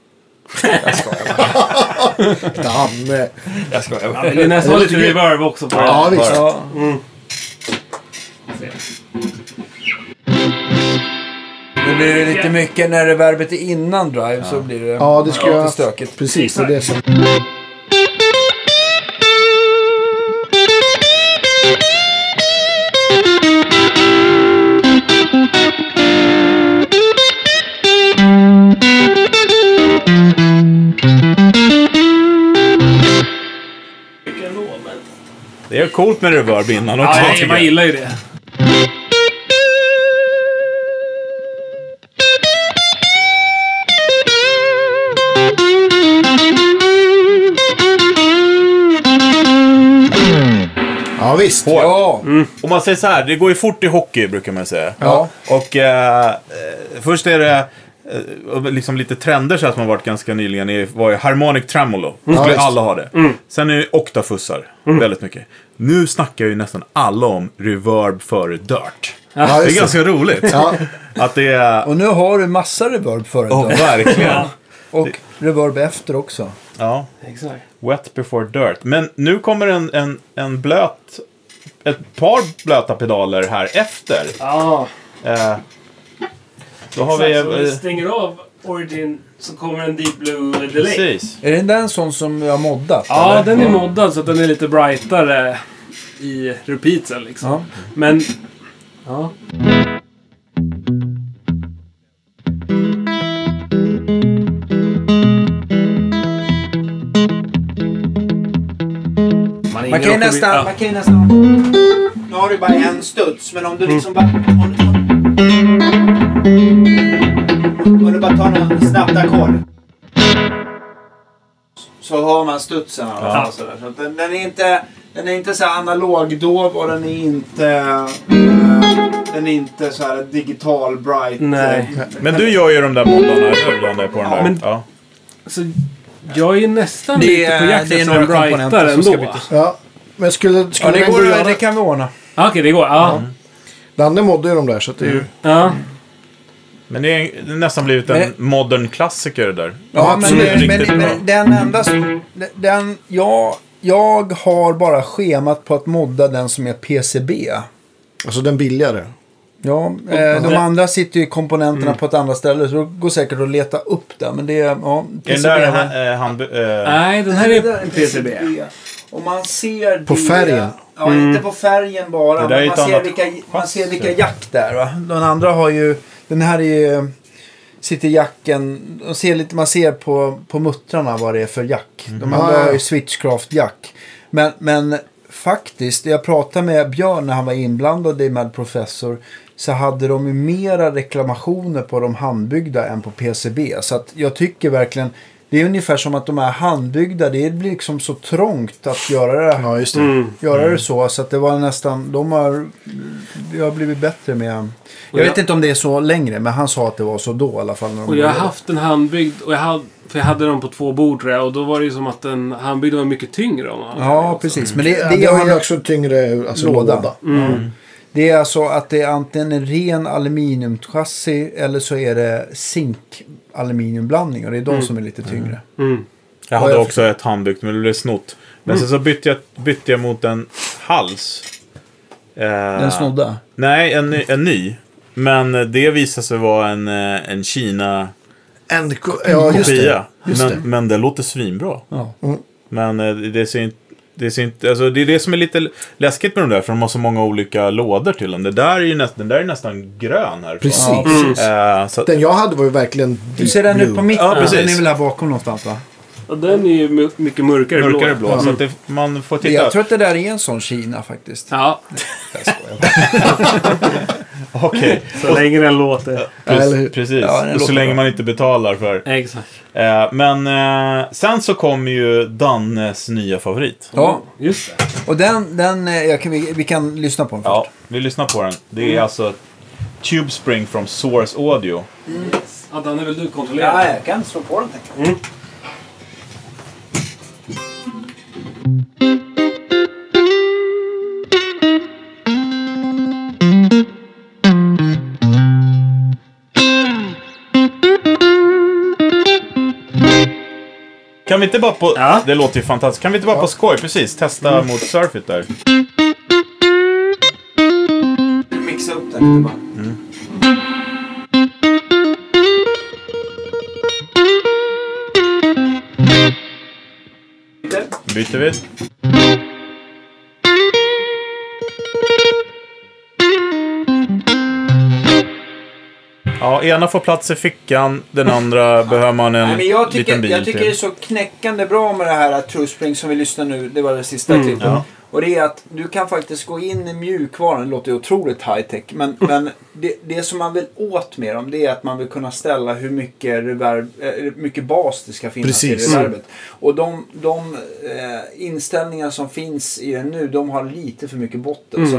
Danne. Jag skojar bara. Ja, men det är nästan Det är lite lite- reverb också på Ja, det. visst. Ja. Se. Nu blir det lite mycket när reverbet är innan drive så blir det, Ja, det skulle jag... lite stökigt. Precis, det är det som... Vilken låt, men- Det är coolt med reverb innan också. Ja, jag, tycker man jag. gillar ju det. Ja, visst. Hårt. Om man säger så här, det går ju fort i hockey brukar man säga. Ja. Och eh, eh, först är det eh, och liksom lite trender så här som har varit ganska nyligen. Det var ju harmonic tremolo. Då skulle Ja, visst. alla ha det. Sen är det oktafussar. Väldigt mycket. Nu snackar ju nästan alla om reverb före dirt. Ja, det är just det. ganska roligt. Ja. Att det är... Och nu har du massa reverb före Oh, drive. verkligen. Och reverb efter också. Ja. Exakt. Wet before dirt. Men nu kommer en, en, en blöt... Ett par blöta pedaler här efter. Ja, Eh, då har exakt. Så när vi... vi Eh, stänger av Origin så kommer en Deep Blue Delay. precis. Är den där en sån som jag har moddat? Ja, den är moddad så att den är lite brightare i repeatsen liksom. Ja. Men... Ja. Man Man, kan ju nästan... Ja. Man kan ju nästan... Nu har du bara en studs, men om du liksom bara... Om, om, om du bara tar någon snabbt ackord. Så hör man studsen. Alltså, Ja. sådär. Så att den, den är inte, den är inte så här analogdov och den är inte... eh, den är inte så här digital bright. Nej. Men du gör ju de där bollarna, eller hur? Blanda på den där. men- ja. Så jag är nästan Det lite på är- jakt det är efter några en brightare komponenter som ändå. ska Ja, bytas. Ja. Men skulle, Ja, skulle det, den gå går, att göra... det kan vi ordna. Okej, det går. Ja. Danne modde ju de där, så att det är ju... ja. Men det är det är nästan blivit en modern klassiker det där. Ja, Ja, men, absolut. men, Riktigt men, bra. men den enda... som- Den, jag, jag har bara schemat på att modda den som är PCB. Alltså den billigare. Ja, eh, de andra sitter ju i komponenterna på ett annat ställe så det går säkert att leta upp det. Men det är... Ja, Är den PCB där här. han, eh, han, eh, Nej, den här är PCB. Om man ser På det- färgen? Ja, inte på färgen bara. Mm. Det där är Men ett man, ser annat vilka, man ser vilka chassi. jack där. Va? Den andra har ju... Den här är ju... Sitter jacken... De ser lite, man ser på, på muttrarna vad det är för jack. De Mm. andra har ju Switchcraft-jack. Men, men faktiskt, jag pratade med Björn när han var inblandad i Mad Professor. Så hade de ju mera reklamationer på de handbyggda än på PCB. Så att jag tycker verkligen... Det är ungefär som att de är handbyggda. Det blir liksom så trångt att göra det här Ja, just det. Mm. göra det så. Så att det var nästan, de har, vi har blivit bättre med. Jag Och vet jag- inte om det är så längre, men han sa att det var så då i alla fall. När de Och jag har började. haft en handbyggd och jag hade, för jag hade dem på två bord tror jag och då var det ju som att en handbyggd var mycket tyngre. Om man Mm. Ja, precis. Men det, Det, det, har ju är, också en tyngre alltså, Låda. Mm. låda. det är alltså att det är antingen en ren aluminiumchassi eller så är det zink aluminiumblandning och det är de som är lite tyngre. Mm. jag hade också ett handbyggt, men det blev snott. Men sen så bytte jag, bytte jag mot en hals. Eh, Den snodda. Nej, en, ny- en ny. Men det visade sig vara en, eh, en Kina-kopia. En, ko- ja, just det. Just Men, det. men det låter svinbra. Ja. Men eh, det ser inte... Det, ser inte, alltså det är det som är lite läskigt med de där, för de har så många olika lådor till dem. Det där är ju nästan, den där är nästan grön här. Precis. Eh, så att, Den jag hade var ju verkligen Du ser den ut på mitten? Ja, precis. Den är väl här bakom någonstans va? Och den är ju my- mycket mörkare, mörkare blå. blå. Så att Mm. det, man får titta. Jag tror att det där är en sån Kina faktiskt. Ja, Okej, så länge den låter. eller hur? precis. precis. Ja, den och så låter länge bra. man inte betalar för. Exakt. Eh, men eh, sen så kommer ju Dannes nya favorit. Ja, Just det. och den... den eh, jag kan, vi, vi kan lyssna på den först. Ja, vi lyssnar på den. Mm. Det är alltså Tube Spring från Source Audio. Ja, den är väl du kontrollerar? jag kan slå på den tänker jag. Kan vi inte bara på... Ja. Det låter ju fantastiskt. Kan vi inte bara på skoj, precis, testa Mm. mot Surfit där. Mixa upp den lite bara. byter vi. Ja, ena får plats i fickan, den andra behöver man en Nej, men jag liten tycker, bil jag tycker det är till. så knäckande bra med det här att Truspring som vi lyssnar nu, det var det sista klippet. Och det är att du kan faktiskt gå in i mjukvaran, det låter ju otroligt high tech, men, men det, det som man vill åt med dem det är att man vill kunna ställa hur mycket, reverb, eh, hur mycket bas det ska finnas Precis. i reverbet. Och de, de eh, inställningar som finns i den nu, de har lite för mycket botten. Mm.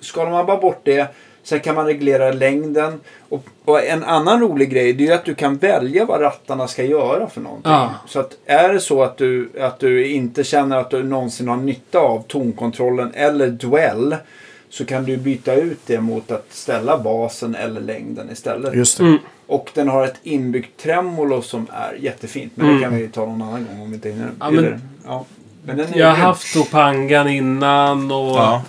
Så skalar man bara bort det, sen kan man reglera längden. Och, och en annan rolig grej, det är ju att du kan välja vad rattarna ska göra för någonting. Ja. Så att är det så att du, eh, att du inte känner att du någonsin har nytta av tonkontrollen eller dwell så kan du byta ut det mot att ställa basen eller längden istället. Just Mm. det. Och den har ett inbyggt tremolo som är jättefint. Men det kan vi ju ta någon annan gång om vi inte hinner. Ja, men- Eller- ja. men den är Mm. Jag har grym. haft Topangan innan och, Ja.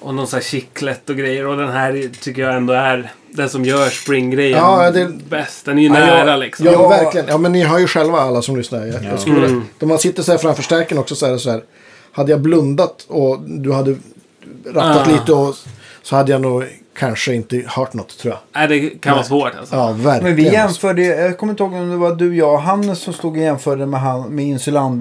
och någon sån här chiclet och grejer. Och den här tycker jag ändå är den som gör springgrejen Ja, det- bäst. Den är ju Ja, nära liksom. Ja, verkligen. Ja, men ni hör ju själva alla som lyssnar. Jag, jag skulle, När man sitter så här framför stärken också så är det så här. Hade jag blundat och du hade rattat Ah. lite och, så hade jag nog kanske inte hört något tror jag. Nej, Äh, det kan vara svårt alltså. Ja, verkligen. Men vi alltså. jämförde, jag kommer inte ihåg om det var du, jag och Hannes som stod och jämförde med, han, med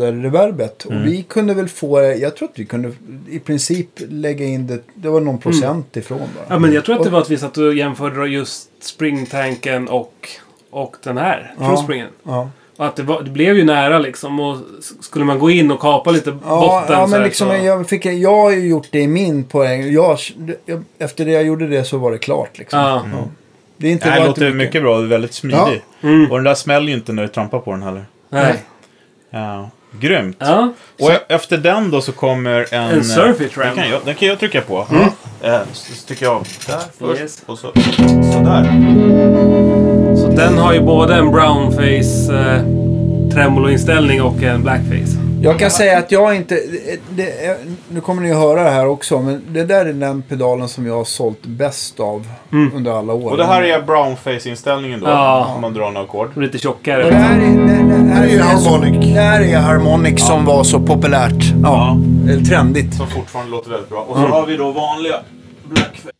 Insulander-reverbet. Mm. Och vi kunde väl få, jag tror att vi kunde i princip lägga in det, det var någon procent Mm. ifrån bara. Ja, men jag tror att det var att vi satt och jämförde just springtanken och, och den här. Ja. Crosspringen. Ja. Och att det, var, det blev ju nära liksom. Och s- skulle man gå in och kapa lite Ja, botten ja, så men här, liksom, så... jag, fick, jag har ju gjort det i min poäng. Jag, jag, efter det jag gjorde det så var det klart. Liksom. Ja. Det är inte Det bara här att låter mycket bra, väldigt smidig. Ja. Mm. Och den där smäller ju inte när du trampar på den heller. Nej. Ja. Grymt. Ja. Och e- efter den då så kommer en... eh, En surfy-tram. Den kan jag, den kan jag trycka på. Eh, Så så trycker jag av där först. Yes. Och så, sådär. Så den har ju både en brownface eh, tremoloinställning och en blackface. Jag kan säga att jag inte... Det, det, nu kommer ni att höra det här också, men det där är den pedalen som jag har sålt bäst av under alla år. Och det här är brownface-inställningen då. Ja. Om man drar en ackord. Lite Det tjockare. här är, det, det, här Det är ju är så, harmonic. det här är Harmonic som var så populärt. Ja. Eller trendigt. Som fortfarande låter väldigt bra. Och så har vi då vanliga blackface.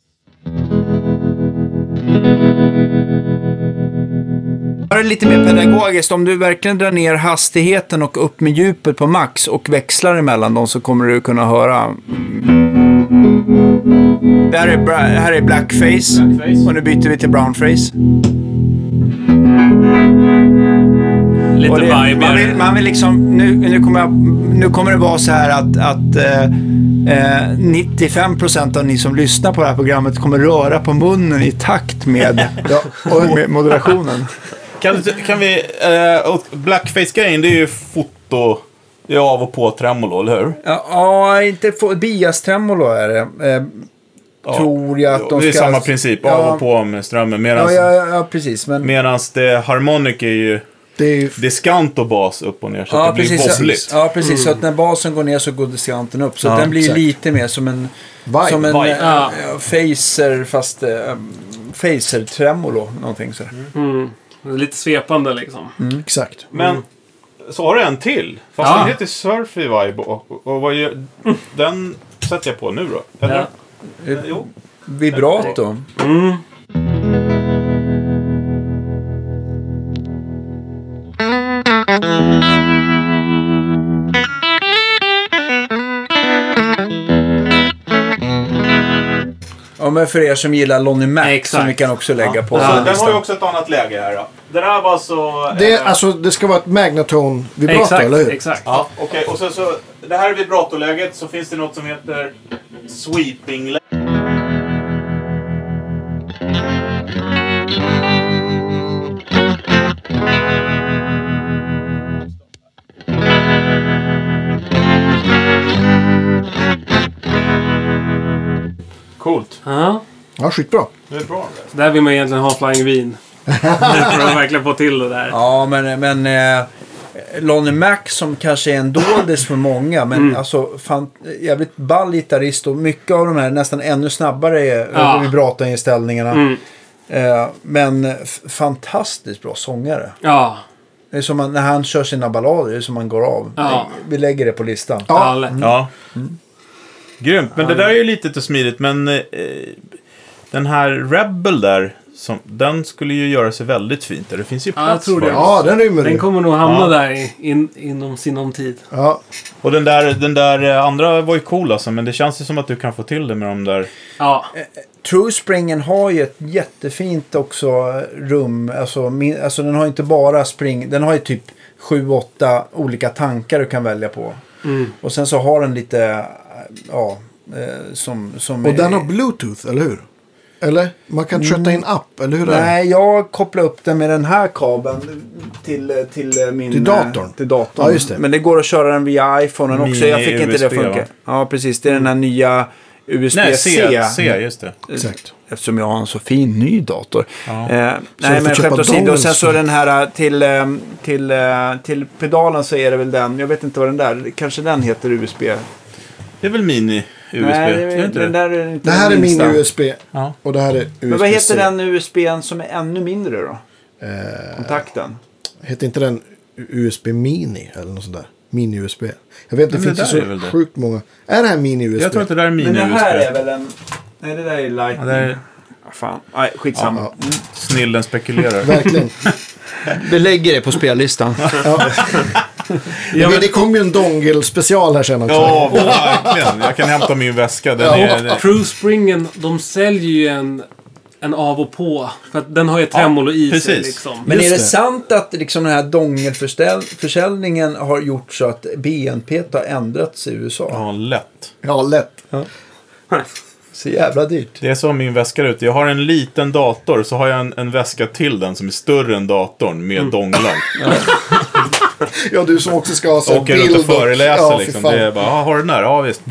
Det här är lite mer pedagogiskt. Om du verkligen drar ner hastigheten och upp med djupet på max och växlar emellan dem så kommer du kunna höra. Det här är, bra, det här är blackface. Blackface. Och nu byter vi till brownface. Lite Och det, man, vill, vibigare. man vill liksom, nu, nu, kommer jag, nu kommer det vara så här att, att eh, eh, 95% av ni som lyssnar på det här programmet kommer röra på munnen i takt med, och med moderationen. Kan, du- kan vi... Eh, och blackface-grejen det är ju foto... Det är av och på tremolo, eller hur? Ja, ja inte få, biastremolo är det. Eh, Tror jag att de det är ska... samma princip, av Ja. och på med strömmen. Ja, Medan ja, ja, ja, precis. Men, medans det harmonic är ju Det är ju... diskant och bas upp och ner så ja, att det precis, blir wobbligt. så, ja, precis. Så att när basen går ner så går diskanten upp. Så Ja, att den blir exakt. lite mer som en... Vibe, som en vibe. eh, Ja. ja, phaser, fast... Eh, Phaser-tremolo, någonting sådär. Mm. Lite svepande liksom. Mm. Exakt. Men så har du en till. Fast Ja. den heter Surfy Vibe och, och vad gör, den sätter jag på nu då. Eller? Ja. Eh, Jo. Vibrato. Mm. Ja, men för er som gillar Lonnie Mac Exakt. som vi kan också lägga på. Och så, Ja, den har ju också ett annat läge här då. Det där var så... Det, är, eh, alltså, det ska vara ett magnatone-vibrato, Exakt, eller hur? exakt. Ja, okej. Och sen så, det här är vibratoläget. Så finns det något som heter sweeping Coolt. Ja. Ja, skitbra. Det är bra det. Där vill man egentligen ha Flying Wien. För att verkligen få till det där. Ja, men, men eh, Lonnie Mac som kanske är en doldis för många. Men Mm. alltså, fan, jävligt ball gitarrist och mycket av de här nästan ännu snabbare Ja. ja. vibratoinställningarna. Mm. Eh, men f- fantastiskt bra sångare. Ja. Det är som man, när han kör sina ballader, det är som man går av. Ja. Vi lägger det på listan. Ja, lätt. Mm. Ja. Grymt, men det där är ju litet och smidigt, men eh, den här Rebel där, som, den skulle ju göra sig väldigt fint. där. Det finns ju Ja, jag plats tror för det. den. Ja, den rymmer Den ju. kommer nog hamna Ja. där i- in, inom sinom tid. Ja, Och den där, den där eh, andra var ju cool alltså, men det känns ju som att du kan få till det med de där. Ja, True Springen har ju ett jättefint också rum. Alltså, min, alltså den har inte bara spring. Den har ju typ 7-8 olika tankar du kan välja på. Mm. Och sen så har den lite, ja, eh, som... som och den har bluetooth, eller hur? Eller? Man kan Mm. kötta in app, eller hur är det? Nej, jag kopplade upp den med den här kabeln till, till eh, min... Till datorn? eh, Till datorn. Ja, just det. Men det går att köra den via iPhonen också. Jag fick inte det att Mini-USB, funka. va? Ja, precis. Det är den Mm. här nya Nej, USB-C. C, C, just det. Exakt. Eftersom jag har en så fin ny dator. Eh, nej, du får men köpa skämt åsido. datorn Och sen så istället. den här eh, till, eh, till, eh, till pedalen så är det väl den. Jag vet inte vad den där. Kanske den heter USB. Det är väl mini-USB? Nej, är det inte den det? där är inte Det här är den minsta. min USB Ja. och det här är USB-C. Men vad heter den USBn som är ännu mindre då? Eh, Kontakten. heter inte den USB Mini eller något sånt där? Mini-USB. Jag vet, det Men det finns ju där är så väl det. sjukt många. Är det här Mini-USB? Jag tror att det där är Men det här är mini-USB. väl en... Nej, det där är Ja, Lightning. Ah, det är Fan, nej, skitsamma. Ja, snillen spekulerar. Verkligen. Vi lägger det på spellistan. Men det kommer ju en dongel-special här sen också. Ja, verkligen. Jag kan hämta min väska. Den är, True Springen, de säljer ju en, en av och på. För att den har ju tremolo i sig precis. liksom. Men Just är det, det. sant att liksom den här dongelförsäljningen har gjort så att BNP har ändrats i USA? ja, lätt. Ja, lätt. Så jävla dyrt. Det är så min väska är ute. Jag har en liten dator, så har jag en, en väska till den som är större än datorn med Mm. donglar. Ja, du som också ska ha så här Åker runt och föreläser Ja, fy liksom. fan. Mm. Det är bara, "Ah, har du den där? Ja, visst.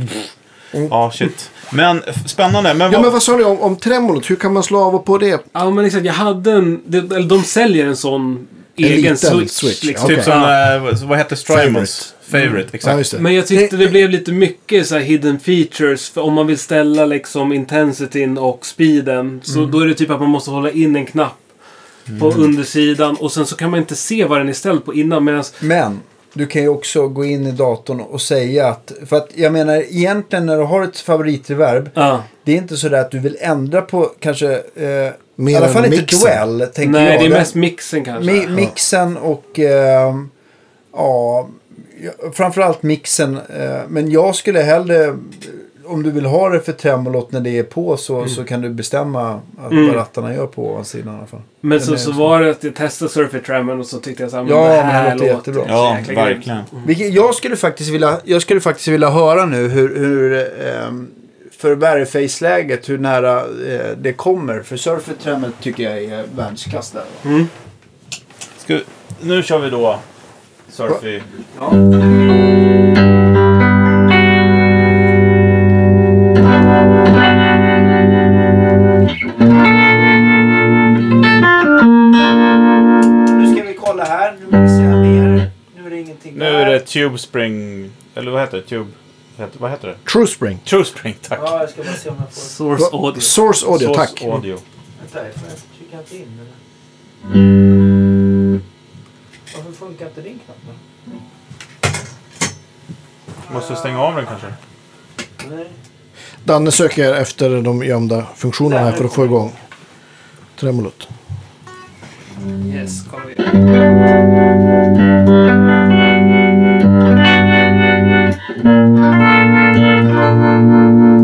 Ja, shit. Men f- spännande. Men, Ja, vad- men vad sa ni om, om tremolot? Hur kan man slå av och på det? Ja, men exakt. Jag hade en... De, eller de säljer en sån egen liten switch. switch, Liksom. ja. Typ Okej. Mm. som, eh, vad- vad hette Strymons? Favorite. Ja, exakt. just det. Men jag tyckte det blev lite mycket så här hidden features. För om man vill ställa liksom intensityn och speeden. Så då är det typ att man måste hålla in en knapp. På undersidan och sen så kan man inte se vad den är ställd på innan. Medan Men du kan ju också gå in i datorn och säga att... För att jag menar egentligen när du har ett favoritreverb. Ja. Det är inte sådär att du vill ändra på kanske... Eh, Mer I alla fall än inte mixen. Duell, tänker Nej, jag. det är Den- mest mixen kanske. Mi mixen och... Eh, ja, ja, framförallt mixen. Eh, men jag skulle hellre... Om du vill ha det för tremolot när det är på så, så kan du bestämma att Mm. vad rattarna gör på ovansidan i alla fall. men den så, är så så. var det att jag testade Surfer Tremmen och så tyckte jag så här, men Ja, det men här det låter jättebra. så Ja, jäkla grymt. verkligen. Vilket, jag, skulle faktiskt vilja, jag skulle faktiskt vilja höra nu hur... hur ehm, för värdeface-läget, hur nära eh, det kommer. För Surfer Tremel tycker jag är världsklass där. Ska, nu kör vi då Surfy. Nu ska vi kolla här. Nu mixar jag ner. Nu är det ingenting Nu är det Tube Spring, eller vad heter det? Tube, heter- vad heter det? True Spring. True Spring, tack. Ja, jag ska bara se om jag får... Source Audio. Source Audio, Source tack. Mm. Audio. Vänta, jag får jag trycka inte in eller? Varför funkar inte din knapp då? Måste stänga av den kanske? Danne söker efter de gömda funktionerna här för att få igång tremolot. Yes, kolla vi.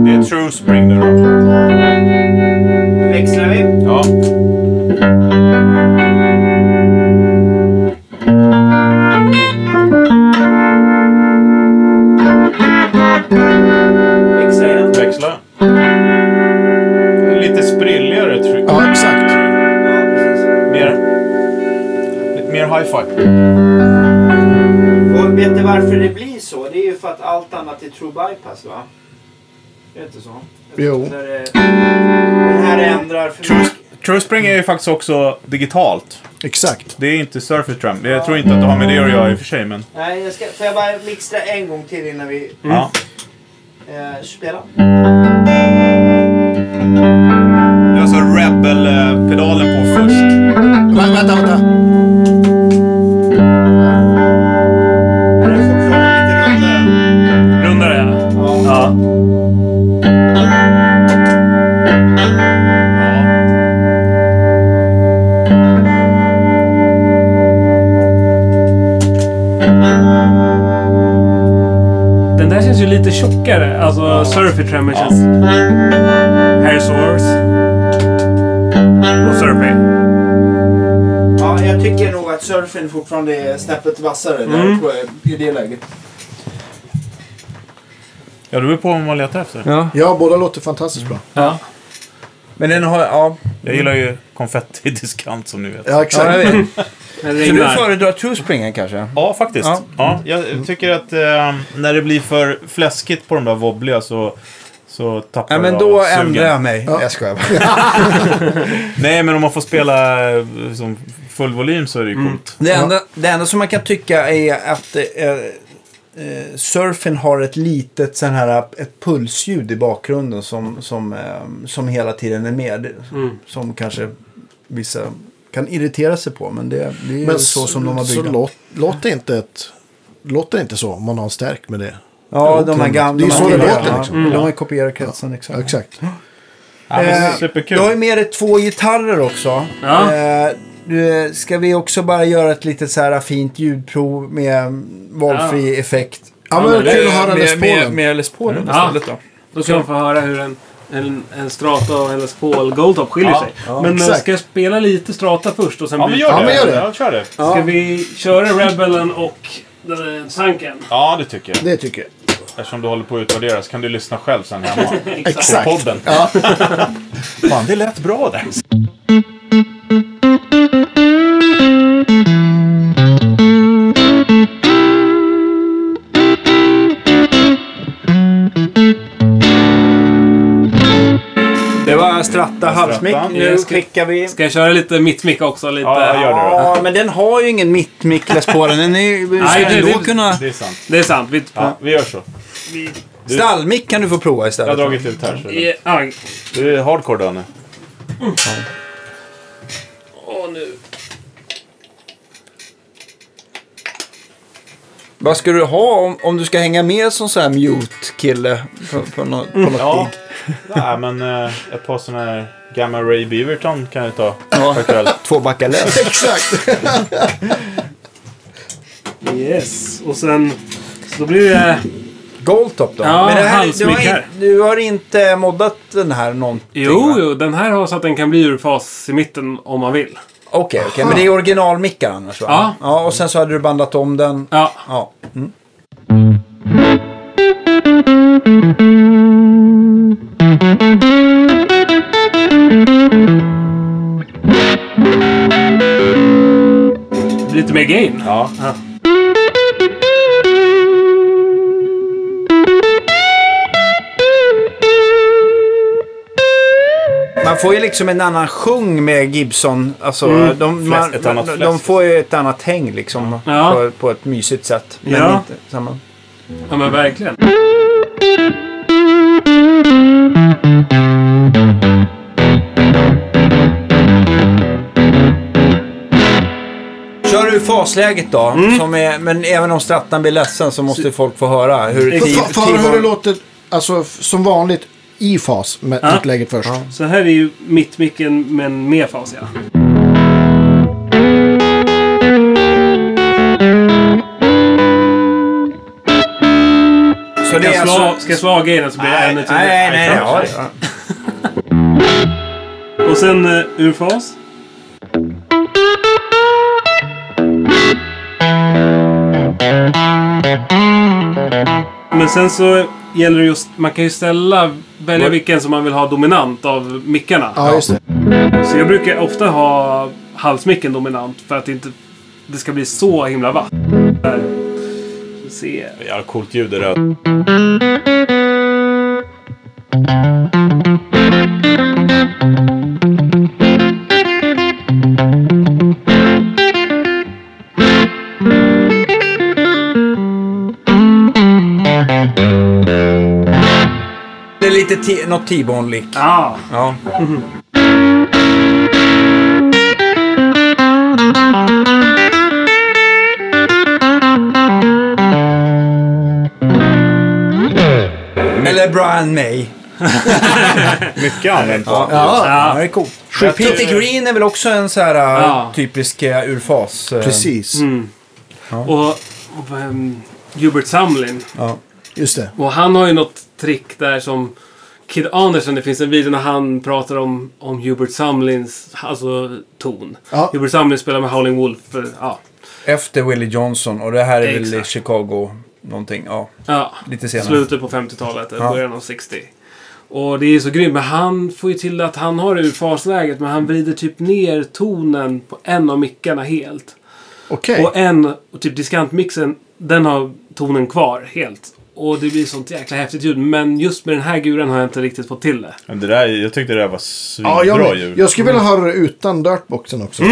Det är True Spring nu då. Växlar vi? Ja. Växlar igen? Växla. Lite sprilligare tror jag. Ja, exakt. Ja, precis. Mer, lite mer hi-fi. Och vet du varför det blir så? Det är ju för att allt annat är true bypass va? Är det inte så? Jag tror Jo. att det där är- Den här ändrar för True, mycket. True Spring är ju faktiskt också digitalt. Exakt. Det är inte Surface Tram. Jag tror inte att det har med det att göra i och för sig, men... Nej, jag ska... Får jag bara mixtra en gång till innan vi Mm. Ja. eh, spelar? Det är alltså Rebel-pedalen på först. Vänta, vänta, vänta. här känns ju lite tjockare. Alltså Surfy Tremor känns... Harry Source. Och Surfy. Ja, jag tycker nog att surfen fortfarande är snäppet vassare där, Mm. tror jag, i det läget. Ja, det beror på vad man letar efter. Ja. Ja, båda låter fantastiskt bra. ja. Men den har, ja. Jag gillar ju konfetti-diskant som ni vet. Ja, exakt. ja jag vet. Det Så du regnar. föredrar True Springer kanske? Ja, faktiskt. Ja. Ja. jag tycker att eh, när det blir för fläskigt på de där wobbliga så, så tappar Nej, men det då av sugen. ändrar jag mig. Ja. Jag skojar bara. Nej, men om man får spela eh, liksom, full volym så är det Mm. ju coolt. Det enda, det enda som man kan tycka är att eh, eh, surfen har ett litet sån här, ett pulsljud i bakgrunden som, som, eh, som hela tiden är med. Det- Mm. Som kanske vissa kan irritera sig på. Men det, det är ju så som de har så byggt. låt, låter inte ett... Låter inte så om man har en stärk med det. Ja, de här gamla. Det är ju de här så det tidigare, låter, ja. liksom. Mm. De har ju kopierat kretsen Ja, exakt. exakt. Ja, men det är Eh, superkul. Du har ju med dig två gitarrer också. Ja. Eh, du, ska vi också bara göra ett litet så här fint ljudprov med mm, valfri effekt? Ja, Ja, men men det- kul att höra Les Med, Mm. med, Paulen. med Les Paulen Ja. istället då. Då ska man få höra hur en, en, en Strata och hennes Paul Goldtop skiljer sig. men eh, exakt. ska jag spela lite Strata först och sen Ja, men gör det. Ja, men gör det. Ja, kör det. Ska vi köra Rebellen och eh, den där Sanken? Ja, det tycker jag. Det tycker jag. Eftersom du håller på att utvärdera så kan du lyssna själv sen hemma. På Exakt. podden. Fan, det lät bra där. Det var Stratta halvmick. Stratta. Nu skickar vi. Ska jag köra lite mittmick också? Lite? Ja, gör det då. Ja, men den har ju ingen mittmick Les Paulen. Den är ju... vi Nej, ska det- ändå det- kunna... Det är sant. Det är sant. Vi, Ja, vi gör så. Stallmick kan du få prova Jag har istället. dragit ut här. Så det- i- aj. du är hardcore, Danne. Åh, nu. Vad ska du ha om, om du ska hänga med som sån här mute-kille på, på, nå- på något Ja. gig? Nej, men eh, ett par såna här Gamma Ray Beaverton kan jag ta per kväll. Två backar läs. Exakt. Yes. Och sen... Så då blir det... Goldtop då? Ja, Men det här, du, halsmick har in, här. du har inte moddat den här någonting? Jo, va? jo, den här har så att den kan bli ur fas i mitten om man vill. Okej, okej. Men det är originalmickar annars va? Ja. ja. Och sen så hade du bandat om den. Ja. Ja. Det blir lite mer gain. Ja. Man får ju liksom en annan sjung med Gibson. Alltså, de, man, Fläsk- ett annat de, de fläsk. får ju ett annat häng liksom. Ja. På, på ett mysigt sätt. Men Ja. inte samma. Ja, men verkligen. Kör du fasläget då. Som är, men även om strattan blir ledsen Mm. så måste folk få höra hur Få- tid- få- Få höra tid- hur det låter, alltså f- som vanligt, i fas med Ja. utlägget först. Så här är ju mittmicken men med fas, ja. Så det Ska är jag alltså... slå, ska jag slå av gainen så blir det Nej, ännu nej, tydligare. nej. nej, ja, kanske. Och sen eh, ur fas. Men sen så gäller det just, man kan ju ställa, välja vilken som man vill ha dominant av mickarna. Ja, just det. Så jag brukar ofta ha halsmicken dominant för att inte det ska bli så himla vass. Där. Ska Se. Jävla coolt ljud det där. Det är lite ti- något T-bone-lick. Ah. Ja. Eller Brian May. Mycket använt. Ja, Ja, det är coolt. Peter Green är väl också en så här äh, Ja. eh, typisk äh, urfas. äh, precis. Och, och ehm, Hubert Samlin. Ja. Just det. Och han har ju något trick där som Kid Andersen, det finns en video när han pratar om, om Hubert Sumlins, alltså ton. Ja. Hubert Sumlin spelar med Howling Wolf. För, ja. Efter Willie Johnson och det här är väl i Exakt. Chicago någonting. Ja, Ja. lite senare. Slutet på 50-talet, eller Ja. början av 60. Och det är så grymt, men han får ju till att han har det ur fasläget, men han vrider typ ner tonen på en av mickarna helt. Okej. Och en, och typ diskantmixen, den har tonen kvar helt. Och det blir sånt jäkla häftigt ljud, men just med den här guren har jag inte riktigt fått till det. Men det där, jag tyckte det där var Ja, svinbra jag, ljud. jag skulle vilja höra det utan dirtboxen också.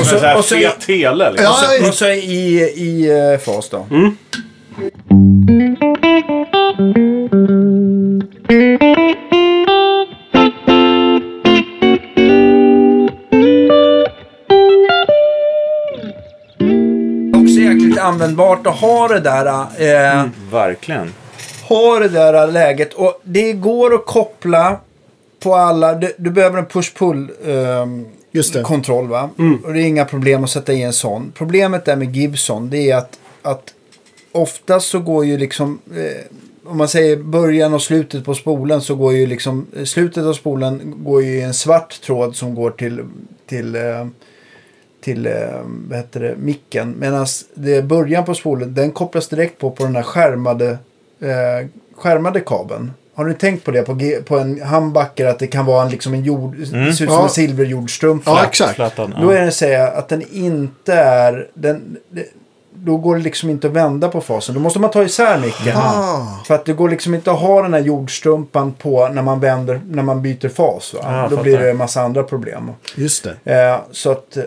Och så, och så- fet tele liksom. Ja, Mm. Och så i, i eh, fas då. Också jäkligt användbart att ha det där. Eh, Mm. Verkligen. ha det där läget. Och det går att koppla på alla. Du, du behöver en push-pull ehm, Just det. kontroll va? Mm. Mm. Och det är inga problem att sätta i en sån. Problemet där med Gibson det är att, att oftast så går ju liksom eh, om man säger början och slutet på spolen så går ju liksom eh, slutet av spolen går ju i en svart tråd som går till till eh, till eh, vad heter det, micken. Medan det början på spolen den kopplas direkt på på den här skärmade eh, skärmade kabeln. Har du tänkt på det på, G- på en handbacker att det kan vara en, liksom en jord, Mm. det ser ut som Ja. en silverjordstrumpa. Ja, exakt. Plattan. Då ja. är det att säga att den inte är... Den, det, då går det liksom inte att vända på fasen. Då måste man ta isär micken. Ah. För att det går liksom inte att ha den här jordstrumpan på när man vänder, när man byter fas. Va? Ah, då fattar. blir det en massa andra problem. Just det. Eh, så att... Eh,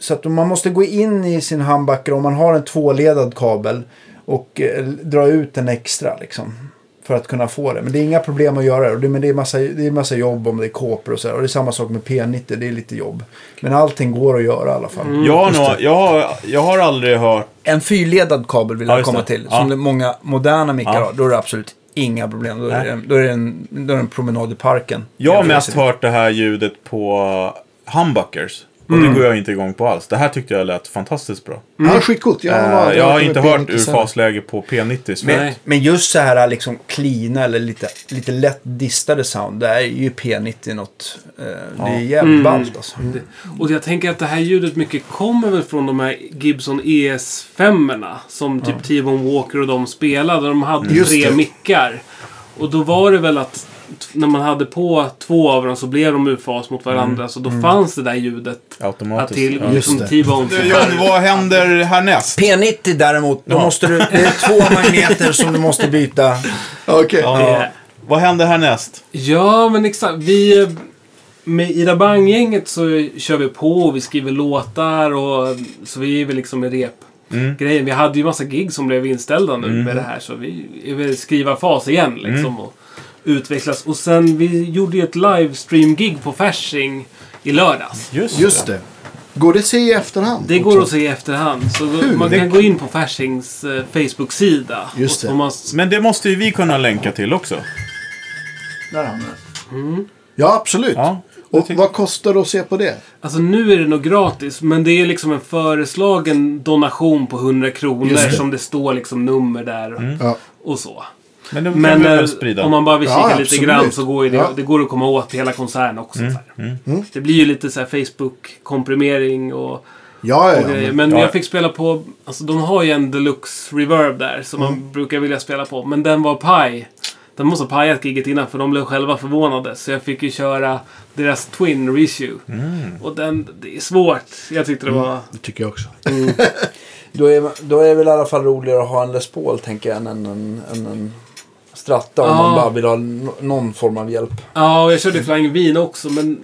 så att man måste gå in i sin handbacker om man har en tvåledad kabel och eh, dra ut den extra liksom. För att kunna få det. Men det är inga problem att göra det. Och det. Men det är massa, det är massa jobb om det är kåpor och så här. Och det är samma sak med P90. Det är lite jobb. Men allting går att göra i alla fall. Jag, har nog, jag, har, jag har aldrig hört... En fyrledad kabel vill Ja, jag just komma det. till. Ja. Som det många moderna mickar Ja. har. Då är det absolut inga problem. Då är, Nej. alltså, det, då är, det, en, då är det en promenad i parken. Jag har Jämfört mest med- hört det här ljudet på humbuckers. Och Mm. det går jag inte igång på alls. Det här tyckte jag lät fantastiskt bra. Ja, typ skitcoolt. Jag, Eh, har- jag har inte med hört P90 ur sen. fasläge på P90. så- Men, Nej. men just så här liksom cleana eller lite, lite lätt distade sound. Det är ju P90 något. Eh, Det är jävligt ballt alltså. Och jag tänker att det här ljudet mycket kommer väl från de här Gibson E es 5 Som typ T-Bone Walker och de spelade. De hade Just tre det. mickar. Och då var det väl att t- när man hade på två av dem så blev de ur fas mot varandra. Mm. Så då fanns det där ljudet. Att Automatiskt. till Ja. Just som det. T-Bone. Du, John, vad händer härnäst? P90 däremot, då måste du, det är två magneter som du måste byta. Okej. Ja. Vad händer härnäst? Ja, men exakt. Vi, eh, med Ida Bang-gänget så kör vi på och vi skriver låtar och så vi är väl liksom Mm. i rep. Grejen. Vi hade ju massa gig som blev inställda nu Mm. med det här så vi är väl i skrivarfas igen liksom och utvecklas. Och sen vi gjorde ju ett livestream-gig på Fasching i lördags. Just det. Går det att se i efterhand? Det går också? att se i efterhand. Så då- Kul, man det- kan gå in på Faschings eh, Facebook-sida. Just och, det. och man, Men det måste ju vi kunna länka till också. Ja, absolut. Ja, det Och tycker- vad kostar det att se på det? Alltså nu är det nog gratis, men det är liksom en föreslagen donation på 100 kronor Just det. som det står liksom nummer där och, Ja. och så. Men det kan Men vi väl eh, sprida. om man bara vill kika Ja, lite absolut. grann så går ju det, Ja. det går att komma åt hela koncernen också. så här. Det blir ju lite så här Facebook-komprimering och, Ja, ja, och grejer. ja. Men Ja. jag fick spela på, alltså de har ju en deluxe reverb där som man brukar vilja spela på. Men den var paj. Den måste ha pajat giget innan för de blev själva förvånade. Så jag fick ju köra deras Twin Reissue. Och den, det är svårt. Jag tyckte det var... Det tycker jag också. Då är, då är det väl i alla fall roligare att ha en Les Paul tänker jag än en, en, en, en Stratta om Ja. man bara vill ha no- någon form av hjälp. Ja, och jag körde Flying Vin också men...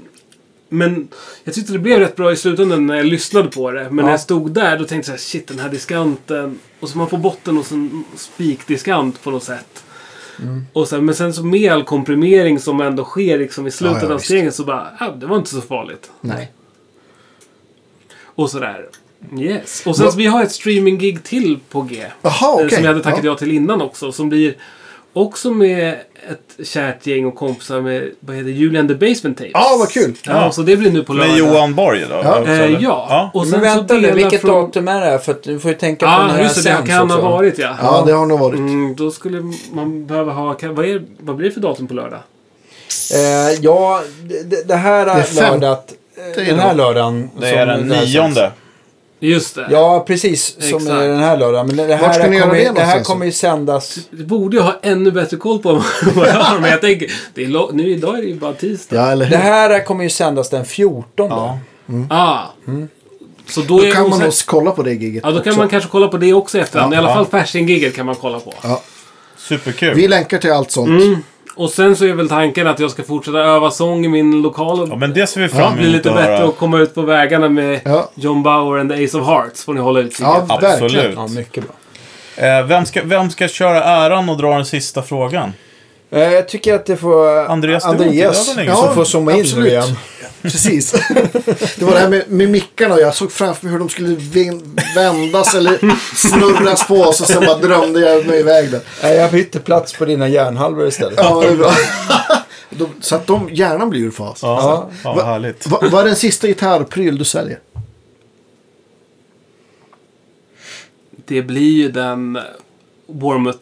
Men jag tyckte det blev rätt bra i slutändan när jag lyssnade på det. Men när jag stod där då tänkte jag så här, shit den här diskanten. Och så man får botten och en spikdiskant på något sätt. Mm. Och sen, men sen så med all komprimering som ändå sker liksom i slutet Ja, ja, av visst. stegen så bara, ja, det var inte så farligt. Nej. Och sådär. Mm. Yes. Och sen så vi har ett streaminggig till på G. Ah, Jaha, Ah, okej. Eh, Som jag hade tackat ja. ja till innan också. Som blir också med ett kärt gäng och kompisar med, vad heter det, Julian the Basement Tapes. Ja, Ah, vad kul. Ja, så det blir nu på lördag. Med Johan Borg då? Ja. också, Eh, eller? ja. Och Men sen vänta så nu, delar vilket från... datum är det här? För att du får ju tänka på när Ja, det här just det. Det sänds kan ha också. varit ja. Ja, det har nog varit. Mm, då skulle man behöva ha... Kan, vad, är, vad blir det för datum på lördag? Eh, ja, det- det, det här är fem- lördaget. eh, Den här lördagen. Det som är den det här sänds. nionde. Just det. Ja, precis. Som Exakt. är den här lördagen. Men det ska ni här, göra kommer, det det här någonstans? kommer ju sändas. Du borde ju ha ännu bättre koll på vad jag har. Men jag tänker, det är lo- nu idag är det ju bara tisdag. Ja, eller hur? Det här kommer ju sändas den 14. Ja. Ah. Så då, är Mm. Då kan jag man osä- nog kolla på det giget Ja, då kan också. man kanske kolla på det också i efterhand. Ja, I alla ja. fall Fasching-giget kan man kolla på. Superkul. Vi länkar till allt sånt. Mm. Och sen så är väl tanken att jag ska fortsätta öva sång i min lokal. Ja, Och men det ser vi fram emot bli lite att bättre höra. och komma ut på vägarna med Ja. John Bauer and the Ace of Hearts. Får ni hålla utkik Ja, efter. verkligen. Absolut. ja, mycket bra. Eh, vem, ska, vem ska köra äran och dra den sista frågan? Eh, jag tycker att det får Andreas, du var inte där så Andreas länge som sedan. får zooma in nu absolut. igen. Precis. Det var det här med, med mickarna och jag såg framför mig hur de skulle vin- vändas eller snurras på oss och sen bara drömde jag mig iväg där. Nej, jag bytte plats på dina järnhalvor istället. Ja, det är bra. De, så att de, hjärnan blir ur fas. Ja, ja, vad Va- härligt. Va- Vad är den sista gitarrpryl du säljer? Det blir ju den Warmouth,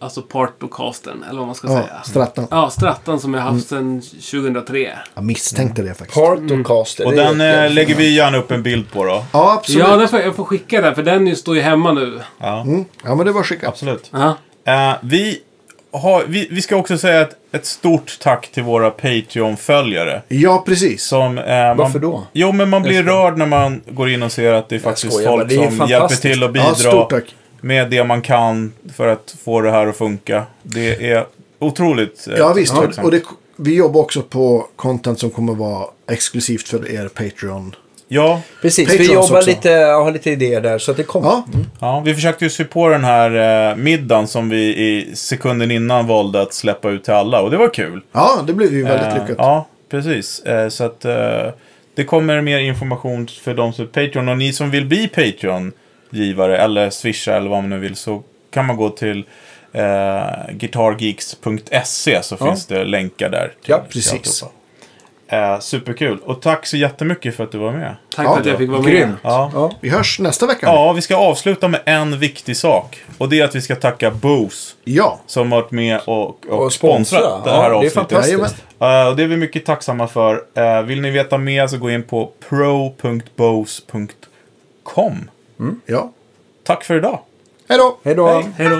alltså Partbocasten, eller vad man ska Ja, säga. Strattan. Ja, Strattan som jag haft sedan 2003. Jag misstänkte det faktiskt. Partocaster. Och det är den jättebra. eh, lägger vi gärna upp en bild på då. Ja, absolut. Ja, Ja, den får, jag får skicka den för den ju står ju hemma nu. Ja, men det var skickat. absolut. Ja. Eh, vi, har, vi, vi ska också säga ett, ett stort tack till våra Patreon-följare. Ja, precis. Som, eh, Varför man, då? Jo, men man blir rörd när man går in och ser att det är faktiskt skojar bara, folk det är som hjälper fantastiskt. till och Ja, bidrar stort tack. med det man kan för att få det här att funka. Det är otroligt eh, Ja, visst. tacksamt. Och det, vi jobbar också på content som kommer vara exklusivt för er Patreon. ja, Precis, vi Patreons jobbar också. lite, har lite idéer där så att det kommer. Ja, ja, vi försökte ju se på den här eh, middagen som vi i sekunden innan valde att släppa ut till alla och det var kul. ja det blev ju väldigt Eh, lyckat. Ja, precis. Eh, så att eh, det kommer mer information för de som är Patreon. Och ni som vill bli Patreon-givare eller swisha eller vad man nu vill så kan man gå till eh, guitargeeks.se så finns det länkar där. till- Ja, till precis. alltihopa. Eh, superkul. Och tack så jättemycket för att du var med. Tack Ja, för att jag fick vara med. Grymt. Ja. Ja. Vi hörs nästa vecka. ja, vi ska avsluta med en viktig sak. Och det är att vi ska tacka Bose ja. som varit med och, och, Och sponsra. sponsrat det här Ja, det är avsnittet. fantastiskt. Jajamän. Eh, och det är vi mycket tacksamma för. Eh, vill ni veta mer så gå in på pro.bose.com. ja. Tack för idag. Hej då! Hej då. Hej då.